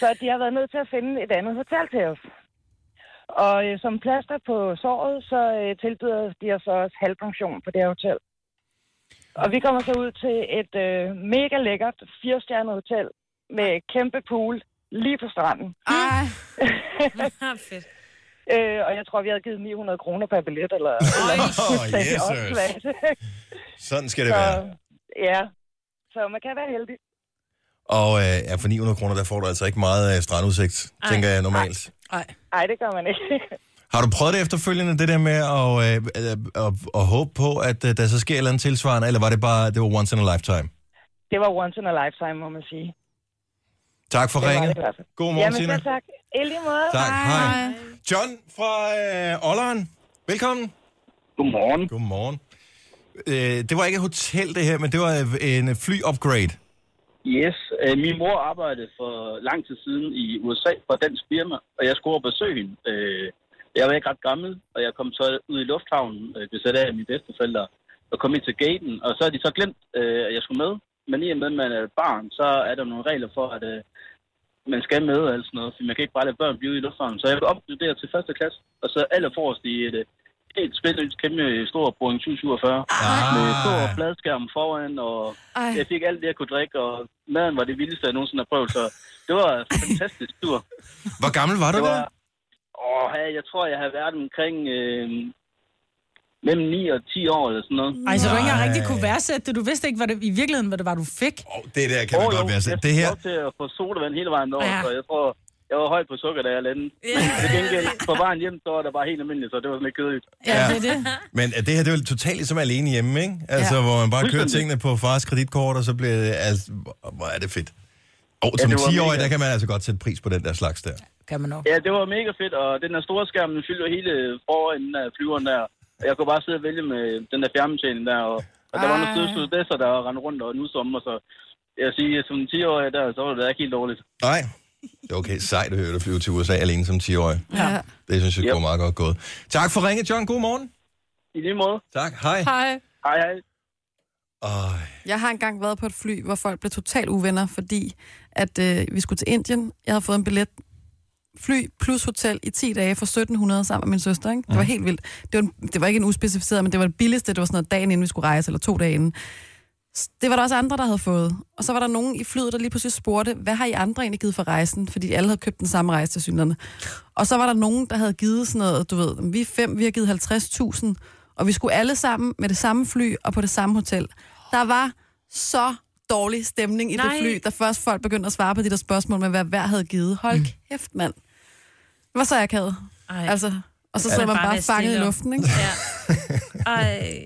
Så de har været nødt til at finde et andet hotel til os. Og øh, som plaster på såret, så øh, tilbyder de os også halvpension på det her hotel. Og vi kommer så ud til et øh, mega lækkert firestjernet hotel med kæmpe pool lige på stranden. Ej. fedt. Øh, og jeg tror, vi havde givet 900 kroner per billet, eller... eller fuldstændig Jesus. åndssvagt. Sådan skal det Så, være. Ja, så man kan være heldig. Og øh, ja, for 900 kroner, der får du altså ikke meget øh, strandudsigt, Ej. tænker jeg normalt. Nej. Nej, det gør man ikke. Har du prøvet det efterfølgende, det der med at, øh, øh, at, at håbe på, at øh, der så sker et eller andet tilsvarende, eller var det bare, det var once in a lifetime? Det var once in a lifetime, må man sige. Tak for Det var det ringet. i hvert fald. God morgen, Jamen, Tina. selv tak. I lige måde. Tak, hej. hej. John fra øh, Olleren, velkommen. Godmorgen. Godmorgen. Øh, det var ikke et hotel, det her, men det var øh, en fly-upgrade. Yes, øh, min mor arbejdede for lang tid siden i USA for et dansk firma, og jeg skulle over og besøge hende. Øh, jeg var ikke ret gammel, og jeg kom så ud i lufthavnen, øh, blev sat af af mine bedsteforældre, og kom ind til gaten, og så har de så glemt, øh, at jeg skulle med. Men i og med, at man er et barn, så er der nogle regler for, at øh, man skal med og alt sådan noget, for man kan ikke bare lade børn blive ude i lufthavnen. Så jeg blev opgraderet til første klasse, og så allerforrest i et øh, helt spændende, kæmpe stor Boeing 747, Ah. med stor bladskærm foran, og Ej. jeg fik alt det, jeg kunne drikke, og maden var det vildeste, jeg nogensinde har prøvet, så det var en fantastisk tur. Hvor gammel var du Det der? Åh, ja, jeg tror, jeg har været omkring øh, mellem 9 og 10 år eller sådan noget. Ej, så du ikke engang rigtig kunne værdsætte det. Du vidste ikke, hvad det, i virkeligheden, hvad det var, du fik. Det der kan man godt være selv. Det Jeg her, fik lov til at få sodavand hele vejen over, Ja. ja. så jeg tror, jeg var høj på sukker, da jeg landede. Yeah. Men til gengæld, på vejen hjem, så var der bare helt almindeligt, så det var sådan lidt kedeligt. Ja, det er det. men øh, det her, det er jo totalt ligesom alene hjemme, ikke? Altså, Ja. ja. hvor man bare kører Fuldstændig. tingene på fars kreditkort, og så bliver det, altså, hvor- hvor er det fedt. Og Ja, som det var 10-årig, mega. der kan man altså godt sætte pris på den der slags der. Kan man nok. Ja, det var mega fedt, og den der store skærm, den fyldte jo hele forenden af flyveren der. Og jeg kunne bare sidde og vælge med den der fjernbetjening der, og, og der var nogle søde studesser, der rendte rundt og nu om, og så jeg siger, som 10-årig der, så var det da ikke helt dårligt. Nej. Det er okay, sejt at høre dig flyve til USA alene som 10-årig. Ja. Det synes jeg, det var meget godt gået. Tak for ringet, John. God morgen. I lige måde. Tak. Hej. Hej. Hej, hej. Ej. Jeg har engang været på et fly, hvor folk blev totalt uvenner, fordi at øh, vi skulle til Indien. Jeg havde fået en billet fly plus hotel i 10 dage for 1700 sammen med min søster. Ikke? Det var helt vildt. Det var, en, det var ikke en uspecificeret, men det var det billigste. Det var sådan noget dagen inden vi skulle rejse, eller to dage inden. S- Det var der også andre, der havde fået. Og så var der nogen i flyet, der lige pludselig spurgte, hvad har I andre egentlig givet for rejsen? Fordi alle havde købt den samme rejse til synerne. Og så var der nogen, der havde givet sådan noget, du ved, vi er fem, vi har givet 50.000, og vi skulle alle sammen med det samme fly og på det samme hotel. Der var så dårlig stemning i Nej. Nej. det fly, da først folk begyndte at svare på de der spørgsmål med, hvad hver havde givet. Hold mm. kæft, mand. Hvad så akavet? Ej. Altså, og så Ja. sidder man Bare bare være fanget i stille. luften, ikke? Ja. Ej.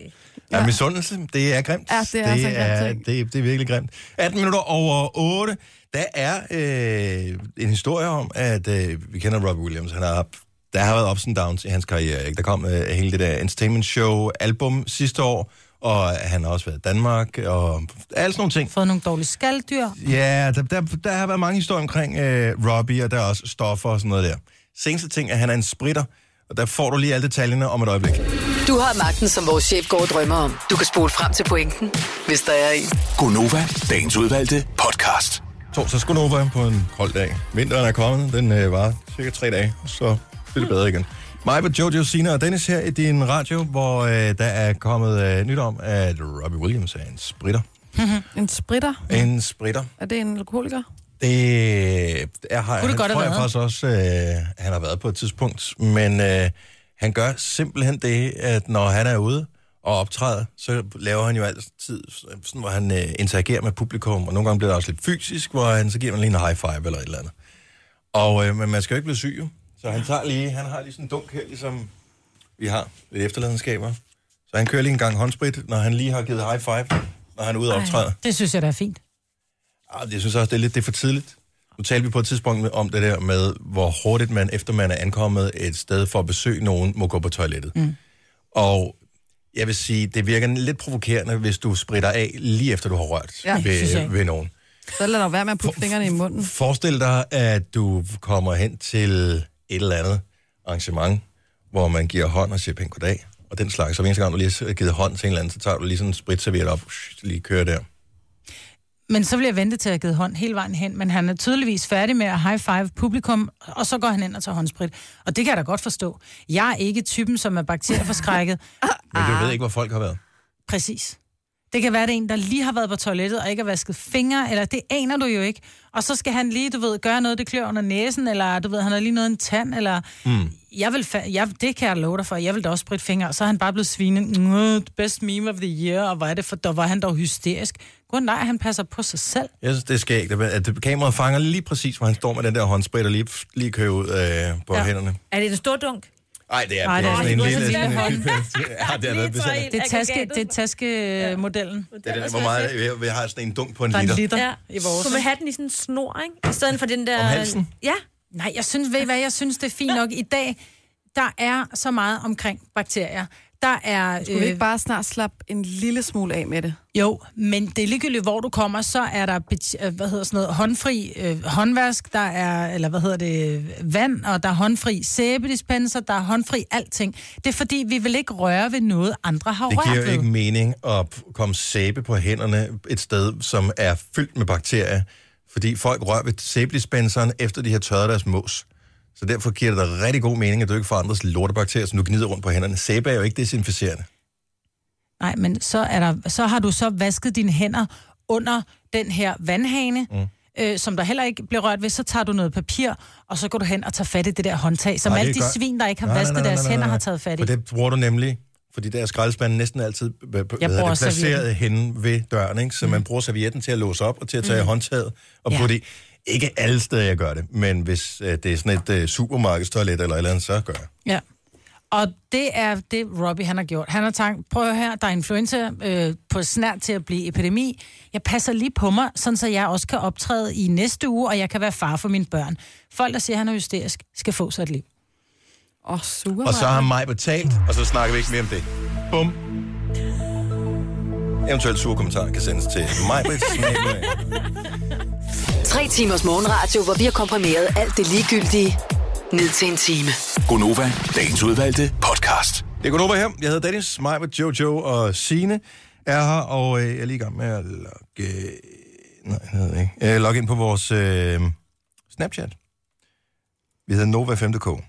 Ja. ja, misundelse, det er grimt. Ja, det er altså en grim er, ting. det, det er virkelig grimt. 18 minutter over 8. Der er øh, en historie om, at øh, vi kender Robbie Williams. Han har, der har været ups and downs i hans karriere. Ikke? Der kom øh, hele det der entertainment show album sidste år, og han har også været i Danmark, og alle sådan nogle ting. Fået nogle dårlige skalddyr. Ja, der, der, der har været mange historier omkring øh, Robbie, og der er også stoffer og sådan noget der. Seneste ting er, at han er en spritter, og der får du lige alle detaljerne om et øjeblik. Du har magten, som vores chef går og drømmer om. Du kan spole frem til pointen, hvis der er en. Gonova, dagens udvalgte podcast. Torsdag skulle over på en kold dag. Vinteren er kommet, den øh, var cirka tre dage, og så bliver det bedre igen. Mig på Jojo, Sina og Dennis her i din radio, hvor øh, der er kommet øh, nyt om, at Robbie Williams er en spritter. en spritter? En spritter. Er det en alkoholiker? Det er, har, Kunne det han, godt have tror jeg været? faktisk også, øh, han har været på et tidspunkt. Men øh, han gør simpelthen det, at når han er ude og optræder, så laver han jo altid, sådan, hvor han øh, interagerer med publikum, og nogle gange bliver det også lidt fysisk, hvor han så giver man lige en high five eller et eller andet. Og, øh, men man skal jo ikke blive syg, jo. Så han, tager lige, han har lige sådan en dunk her, ligesom vi har lidt efterladenskaber. Så han kører lige en gang håndsprit, når han lige har givet high five, når han er ude og optræde. Det synes jeg, der er fint. Arh, Ah, jeg synes også, det er lidt det er for tidligt. Nu talte vi på et tidspunkt om det der med, hvor hurtigt man, efter man er ankommet et sted for at besøge nogen, må gå på toilettet. Mm. Og Jeg vil sige, det virker lidt provokerende, hvis du spritter af, lige efter du har rørt Ja, ja, det synes jeg ved, ikke. ved nogen. Så lad dog være med at putte fingrene i munden. Forestil dig, at du kommer hen til et eller andet arrangement, hvor man giver hånd og siger pænt goddag, og den slags. Så hver eneste gang, du lige har givet hånd til en eller anden, så tager du lige sådan en spritserviet op, psh, lige kører der. Men så vil jeg vente til at have givet hånd hele vejen hen, men han er tydeligvis færdig med at high five publikum, og så går han ind og tager håndsprit. Og det kan jeg da godt forstå. Jeg er ikke typen, som er bakterieforskrækket. Men Ah. du ved ikke, hvor folk har været. Præcis. Det kan være, at det er en, der lige har været på toilettet og ikke har vasket fingre, eller det aner du jo ikke. Og så skal han lige, du ved, gøre noget, det klør under næsen, eller du ved, han har lige noget i en tand, eller... Mm. Jeg vil fa- jeg, det kan jeg love dig for, jeg vil da også spritte fingre. Og så er han bare blevet svinet. "Nå, Best meme of the year, og hvor er det for, der var han dog hysterisk. Gud nej, han passer på sig selv. Jeg synes, det er skægt, at- at kameraet fanger lige præcis, hvor han står med den der håndsprit og lige, lige kører ud øh, på ja. hænderne. Er det en stor dunk? Nej, det er, Ej, Ej, det er nej, sådan en det er lille... så Sådan en derfor. lille ja, det er noget Det bestemt. Det er, taske, det er taskemodellen. Ja. er den, hvor meget vi- vi har sådan en dunk på en Der er en liter. liter. Ja, i vores. Skulle man have den i sådan en snor, ikke? I stedet for den der... Om halsen? Ja. Nej, jeg synes, ved I hvad, jeg synes, det er fint nok. I dag, der er så meget omkring bakterier. Der er... Skulle vi Øh. ikke bare snart slappe en lille smule af med det? Jo, men det er ligegyldigt, hvor du kommer, så er der bet- øh, hvad hedder sådan noget, håndfri øh, håndvask, der er, eller hvad hedder det, øh, vand, og der er håndfri sæbedispenser, der er håndfri alting. Det er fordi, vi vil ikke røre ved noget, andre har Det rørt giver jo ved. ikke mening at p- komme sæbe på hænderne et sted, som er fyldt med bakterier, fordi folk rører ved sæbedispenseren, efter de har tørret deres mås. Så derfor giver det dig rigtig god mening, at du ikke får andres lortebakterier, som du gnider rundt på hænderne. Sæbe er jo ikke desinficerende. Nej, men så, er der, så har du så vasket dine hænder under den her vandhane, mm. øh, som der heller ikke bliver rørt ved, så tager du noget papir, og så går du hen og tager fat i det der håndtag, som Nej, det alle de gør- svin, der ikke har Nej, nej, vasket nej, nej, deres nej, hænder, nej. har taget fat i. For det bruger du nemlig, fordi der er skraldespanden næsten altid b- b- hvad hedder bruger det, placeret servietten. henne ved døren, ikke? så mm. man bruger servietten til at låse op og til at tage Mm. mm. håndtaget og Ja. ja. putte i. Ikke alle steder, jeg gør det, men hvis øh, det er sådan et øh, supermarkedstoilet eller et eller andet, så gør jeg. Ja. Og det er det, Robbie han har gjort. Han har tænkt, prøv at høre her, der er influenza øh, på snart til at blive epidemi. Jeg passer lige på mig, sådan så jeg også kan optræde i næste uge, og jeg kan være far for mine børn. Folk, der siger, at han er hysterisk, skal få sig et liv. Åh, oh, sure. Og så har mig betalt, og så snakker vi ikke mere om det. Bum. Eventuelt sure kommentarer kan sendes til mig. Tre timers morgenradio, hvor vi har komprimeret alt det ligegyldige ned til en time. Gonova, dagens udvalgte podcast. Det er Gunova her. Jeg hedder Dennis, mig med Jojo og Sine er her, og øh, jeg er lige i gang med at logge, nej, jeg hedder det ikke. Øh, logge ind på vores øh, Snapchat. Vi hedder Nova5.dk.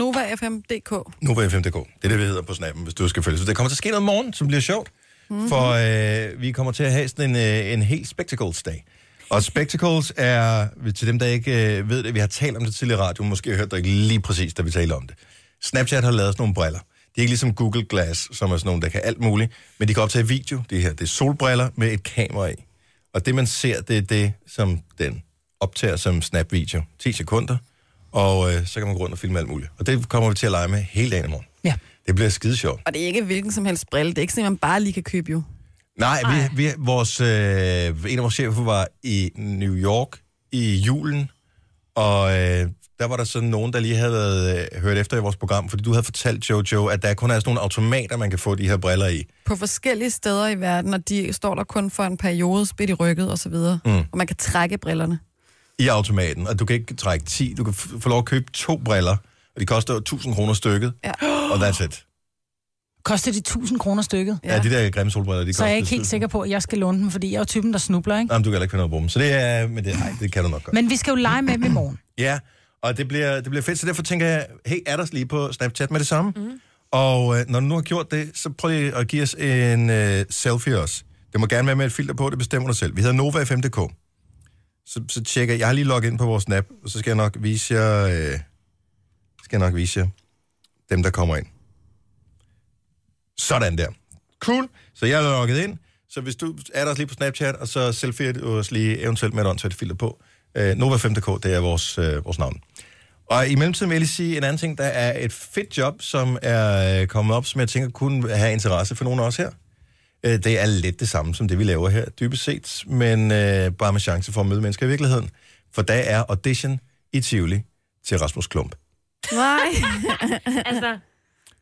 NovaFM.dk. Nova5.dk. Det er det, vi hedder på snappen, hvis du skal følge. Så der kommer til at ske noget i morgen, som bliver sjovt. Mm-hmm. For øh, vi kommer til at have sådan en, øh, en helt spectacles-dag. Og spectacles er, til dem der ikke øh, ved det, vi har talt om det tidligere i radioen, måske hørte du ikke lige præcis, da vi talte om det. Snapchat har lavet sådan nogle briller. De er ikke ligesom Google Glass, som er sådan nogle, der kan alt muligt, men de kan optage video, det her. Det er solbriller med et kamera i. Og det, man ser, det er det, som den optager som snapvideo. 10 sekunder, og øh, så kan man gå rundt og filme alt muligt. Og det kommer vi til at lege med hele dagen i morgen. Ja. Det bliver skide sjovt. Og det er ikke hvilken som helst brille. Det er ikke sådan, man bare lige kan købe jo. Nej, vi, vi, vores, øh, en af vores chefer var i New York i julen, og øh, der var der sådan nogen, der lige havde været, øh, hørt efter i vores program, fordi du havde fortalt Jojo, at der kun er sådan nogle automater, man kan få de her briller i. På forskellige steder i verden, og de står der kun for en periode, spidt i rykket og så videre. Mm. Og man kan trække brillerne. i automaten, og du kan ikke trække 10, du kan f- få lov at købe to briller, og de koster 1000 kroner stykket, ja. og that's it. Koster de 1000 kroner stykket? Ja. ja, de der grimme solbriller, de så er jeg koster ikke helt 1000. sikker på, at jeg skal låne dem, fordi jeg er jo typen, der snubler, ikke? Nej, men du kan heller ikke finde noget på dem. Så det er, men det, nej, det kan du nok godt. Men vi skal jo lege med dem i morgen. Ja, og det bliver, det bliver fedt, så derfor tænker jeg, hey, er der lige på Snapchat med det samme? Mm. Og øh, når du nu har gjort det, så prøv lige at give os en øh, selfie også. Det må gerne være med et filter på, det bestemmer du selv. Vi hedder Nova5.dk. Så, så tjekker jeg, jeg har lige logget ind på vores snap, og så skal jeg nok vise jer, øh, skal jeg nok vise jer dem, der kommer ind. Sådan der. Cool. Så jeg er logget ind. Så hvis du er der også lige på Snapchat, og så selfie'er du os lige eventuelt med et åndssvagt filter på. Øh, Nova5.dk, det er vores, øh, vores navn. Og i mellemtiden vil jeg lige sige en anden ting. Der er et fedt job, som er øh, kommet op, som jeg tænker kunne have interesse for nogen også her. Øh, det er lidt det samme som det, vi laver her, dybest set, men øh, bare med chance for at møde mennesker i virkeligheden. For der er audition i Tivoli til Rasmus Klump. Nej. altså,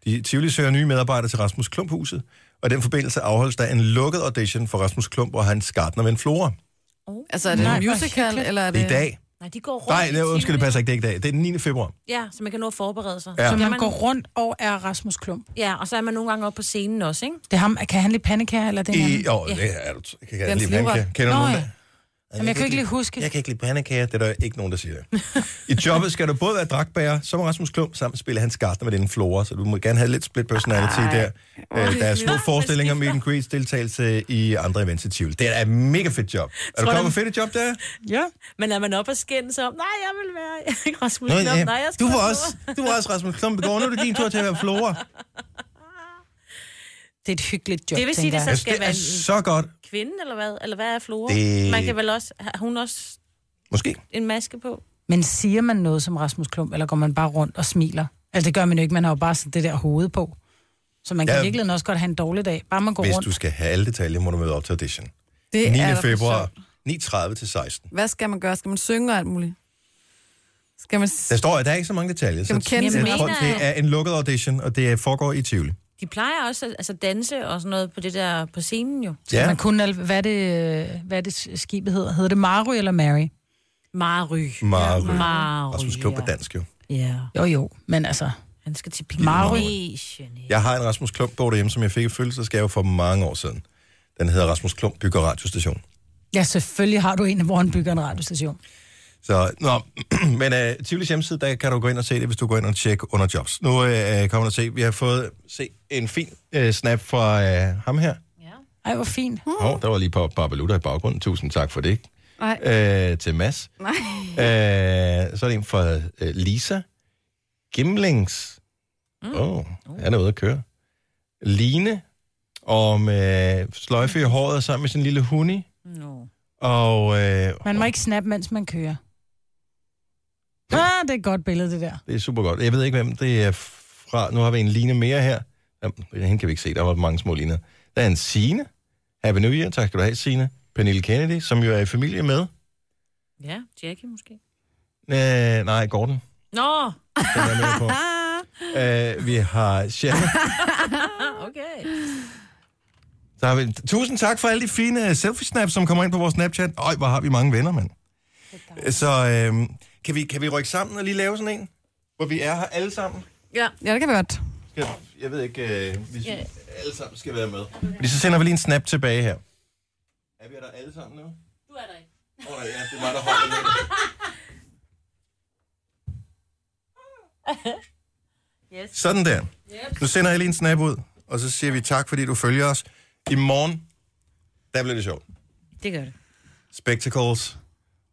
I Tivoli søger nye medarbejdere til Rasmus Klumphuset, og i den forbindelse afholdes der en lukket audition for Rasmus Klump og hans gartner med en flora. Oh. Altså, er det Nej, en musical, eller er det... Det er i dag. Nej, de går rundt. Nej, nej, i undskyld, det Tivoli. passer ikke, det er ikke i dag. Det er den 9. februar. Ja, så man kan nå at forberede sig. Ja. Så man går rundt og er Rasmus Klump. Ja, og så er man nogle gange oppe på scenen også, ikke? Det er ham, kan han lide pandekager, eller det er I, en jo, anden? det er du. Jeg kan Den ikke lide pandekager. flyver. Kender du Nå, nogen ja. der? Jamen, jeg kan ikke lige huske. Jeg kan ikke lide pandekager, det er der ikke nogen, der siger. I jobbet skal du både være dragtbærer, som Rasmus Klump, samt spille hans gartner med din flora, så du må gerne have lidt split personality Ej. der. Hvor Øh, der er små hyggeligt. forestillinger med en great deltagelse i andre events i Tivoli. Det er et mega fedt job. Er du Tror klar du- på fedt job, der? Ja. Men er man oppe og skændes om, nej, jeg vil være Rasmus Nå, Klump, ja. nej, jeg skal Du var være også, Flora." du var også Rasmus Klump i går. Nu er det din tur til at være flora. Det er et hyggeligt job, Det vil sige, tænker det så jeg. skal Altså, det er være så en godt. kvinde, eller hvad? Eller hvad er Flora? Det- Man kan vel også, har hun også Måske. en maske på? Men siger man noget som Rasmus Klump, eller går man bare rundt og smiler? Altså, det gør man jo ikke. Man har jo bare sådan det der hoved på. Så man kan Ja. ja. virkelig også godt have en dårlig dag. Bare man går Hvis rundt. du skal have alle detaljer, må du møde op til audition. Det er 9. da for februar, 9.30 til 16. Hvad skal man gøre? Skal man synge og alt muligt? Skal man... s- Der står, at der er ikke så mange detaljer, så Skal man kende jeg sin tror, mail? det er en lukket audition, og det foregår i Tivoli. De plejer også at altså, danse og sådan noget på det der på scenen jo. Ja. Ja. Man kunne, al- hvad er det, øh, hvad er det skibet hedder? Hedder det Mary eller Mary? Mary. Mary. Mary. Rasmus Klump er dansk jo. Ja. Jo, jo, men altså... Han skal til Mary. Jeg har en Rasmus Klump bog derhjemme, som jeg fik i fødselsdagsgave for mange år siden. Den hedder Rasmus Klump bygger radiostation. Ja, selvfølgelig har du en, hvor han bygger en radiostation. Så, nå, men uh, Tivolis hjemmeside, der kan du gå ind og se det, hvis du går ind og tjekker under jobs. Nu uh, kommer du se, vi har fået se en fin uh, snap fra uh, ham her. Ej, hvor fint. Åh, oh, der var lige på Barbalutter i baggrunden. Tusind tak for det. Nej. Uh, til Mads. Nej. Øh, så er det en fra øh, Lisa. Gimlings. Åh, mm. oh, han er ude at køre. Line. Og med sløjfe i håret sammen med sin lille hundi. No. Og øh, Man må ikke snappe, mens man kører. Ah, det er et godt billede, det der. det er super godt. Jeg ved ikke, hvem det er fra. Nu har vi en Line mere her. Jamen, hende kan vi ikke se. Der var mange små liner. Der er en Sine. Happy New Year. Tak skal du have, Sine. Pernille Kennedy, som jo er i familie med. Ja, Jackie måske. Øh, nej, Gordon. Nå! Den er med på. Øh, vi har Shanna. Ah, okay. Så har vi... Tusind tak for alle de fine øh, selfie-snaps, som kommer ind på vores Snapchat. Øj, hvor har vi mange venner, mand. Så øh, kan, vi, kan vi rykke sammen og lige lave sådan en, hvor vi er her alle sammen? Ja. ja, det kan vi godt. Skal, jeg ved ikke, øh, hvis vi alle sammen skal være med. Fordi så sender vi lige en snap tilbage her. Er vi der alle sammen nu? Du er der ikke. Åh oh, ja, det var der holdt yes. Sådan der. Nu sender jeg lige en snap ud, og så siger vi tak, fordi du følger os. I morgen, der bliver det sjovt. Det gør det. Spectacles.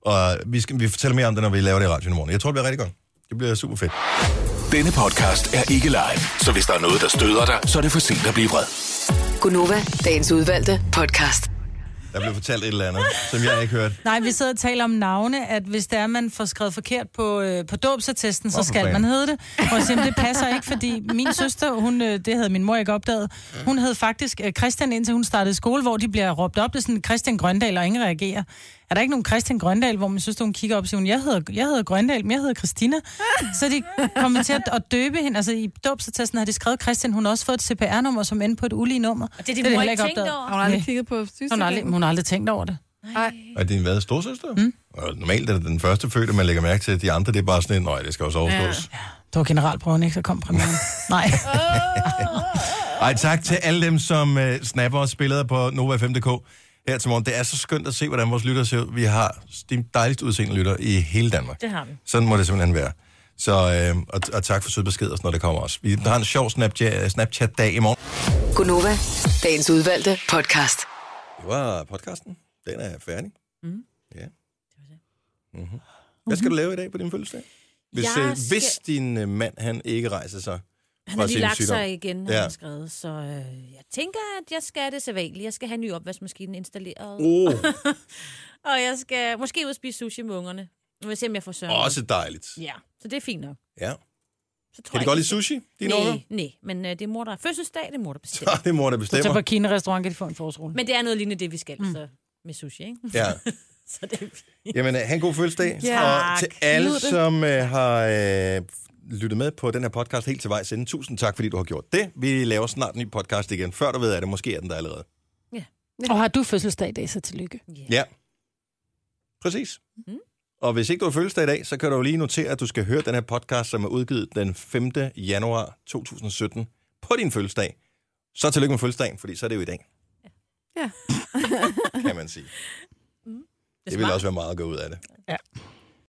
Og vi, skal, vi fortæller mere om det, når vi laver det i radioen i morgen. Jeg tror, det bliver rigtig godt. Det bliver super fedt. Denne podcast er ikke live, så hvis der er noget, der støder dig, så er det for sent at blive vred. Gunova, dagens udvalgte podcast. Der blev fortalt et eller andet, som jeg ikke hørte. Nej, vi sidder og taler om navne, at hvis der man får skrevet forkert på, øh, på dåbsattesten, så Hvorfor skal fanden? man hedde det. Og jeg siger, "Men det passer ikke, fordi min søster, hun, øh, det havde min mor ikke opdaget, hun hed faktisk øh, Christian, indtil hun startede i skole, hvor de bliver råbt op, det er sådan Christian Grøndal, og ingen reagerer. Er der ikke nogen Christian Grøndal, hvor min søster, hun kigger op og siger, hun, jeg hedder, jeg hedder Grøndal, men jeg hedder Christina. Så de kommer til at, at døbe hende, altså i dåbsattesten har de skrevet Christian, hun har også fået et CPR-nummer, som endte på et ulige nummer. Og det er din mor heller ikke tænkt over? Har hun aldrig Nej. kigget på hun har, aldrig, hun har aldrig tænkt over det. Er din hvad, storsøster? Mm. Og normalt er det den første fødte, man lægger mærke til, at de andre, det er bare sådan en, nej, det skal også overstås. Ja. Det var generalprøven, ikke? Så kom premieren. Nej. Ej, tak til alle dem, som uh, snapper os billeder på Nova5.dk her til morgen. Det er så skønt at se, hvordan vores lytter ser ud. Vi har de dejligst udseende lytter i hele Danmark. Det har vi. Sådan må det simpelthen være. Så, øh, og, og tak for søde beskeder, når det kommer også. Vi har en sjov Snapchat- Snapchat-dag i morgen. Gunova, dagens udvalgte podcast. Det var podcasten. Den er færdig. Mm. Ja. Mm-hmm. Hvad skal du lave i dag på din fødselsdag? Hvis, Jeg øh, hvis skal- din øh, mand han ikke rejser sig Han fra har lige sin lagt sygdom. sig igen, har Ja. han skrevet, så øh, jeg tænker, at jeg skal have det sædvanligt. Jeg skal have en ny opvaskemaskine installeret. Oh. og jeg skal måske ud og spise sushi med ungerne. Nu vil jeg se, om jeg får søvn. Også dejligt. Ja, så det er fint nok. Ja. Så tror Kan de jeg godt lide ikke- sushi, dine nej, unger? Nej, men øh, det er mor, der er fødselsdag, det er mor, der Så bestemmer. er det mor, der Så tager bestemmer. på Kina-restaurant, kan de få en forårsrulle. men det er noget lignende det, vi skal, mm. så med sushi, ikke? Ja. så det er fint. Jamen, øh, han god fødselsdag. Ja. Og til Tak. alle, Nyd det. som øh, har øh, lyttet med på den her podcast helt til vejs ende. Tusind tak, fordi du har gjort det. Vi laver snart en ny podcast igen. Før du ved af det, måske er den der allerede. Og har du fødselsdag i dag, så tillykke. Yeah. Ja. Præcis. Mm. Og hvis ikke du har fødselsdag i dag, så kan du jo lige notere, at du skal høre den her podcast, som er udgivet den 5. januar 2017 på din fødselsdag. Så tillykke med fødselsdagen, fordi så er det jo i dag, Ja. kan man sige. Det, det ville også være meget at gå ud af det. Ja.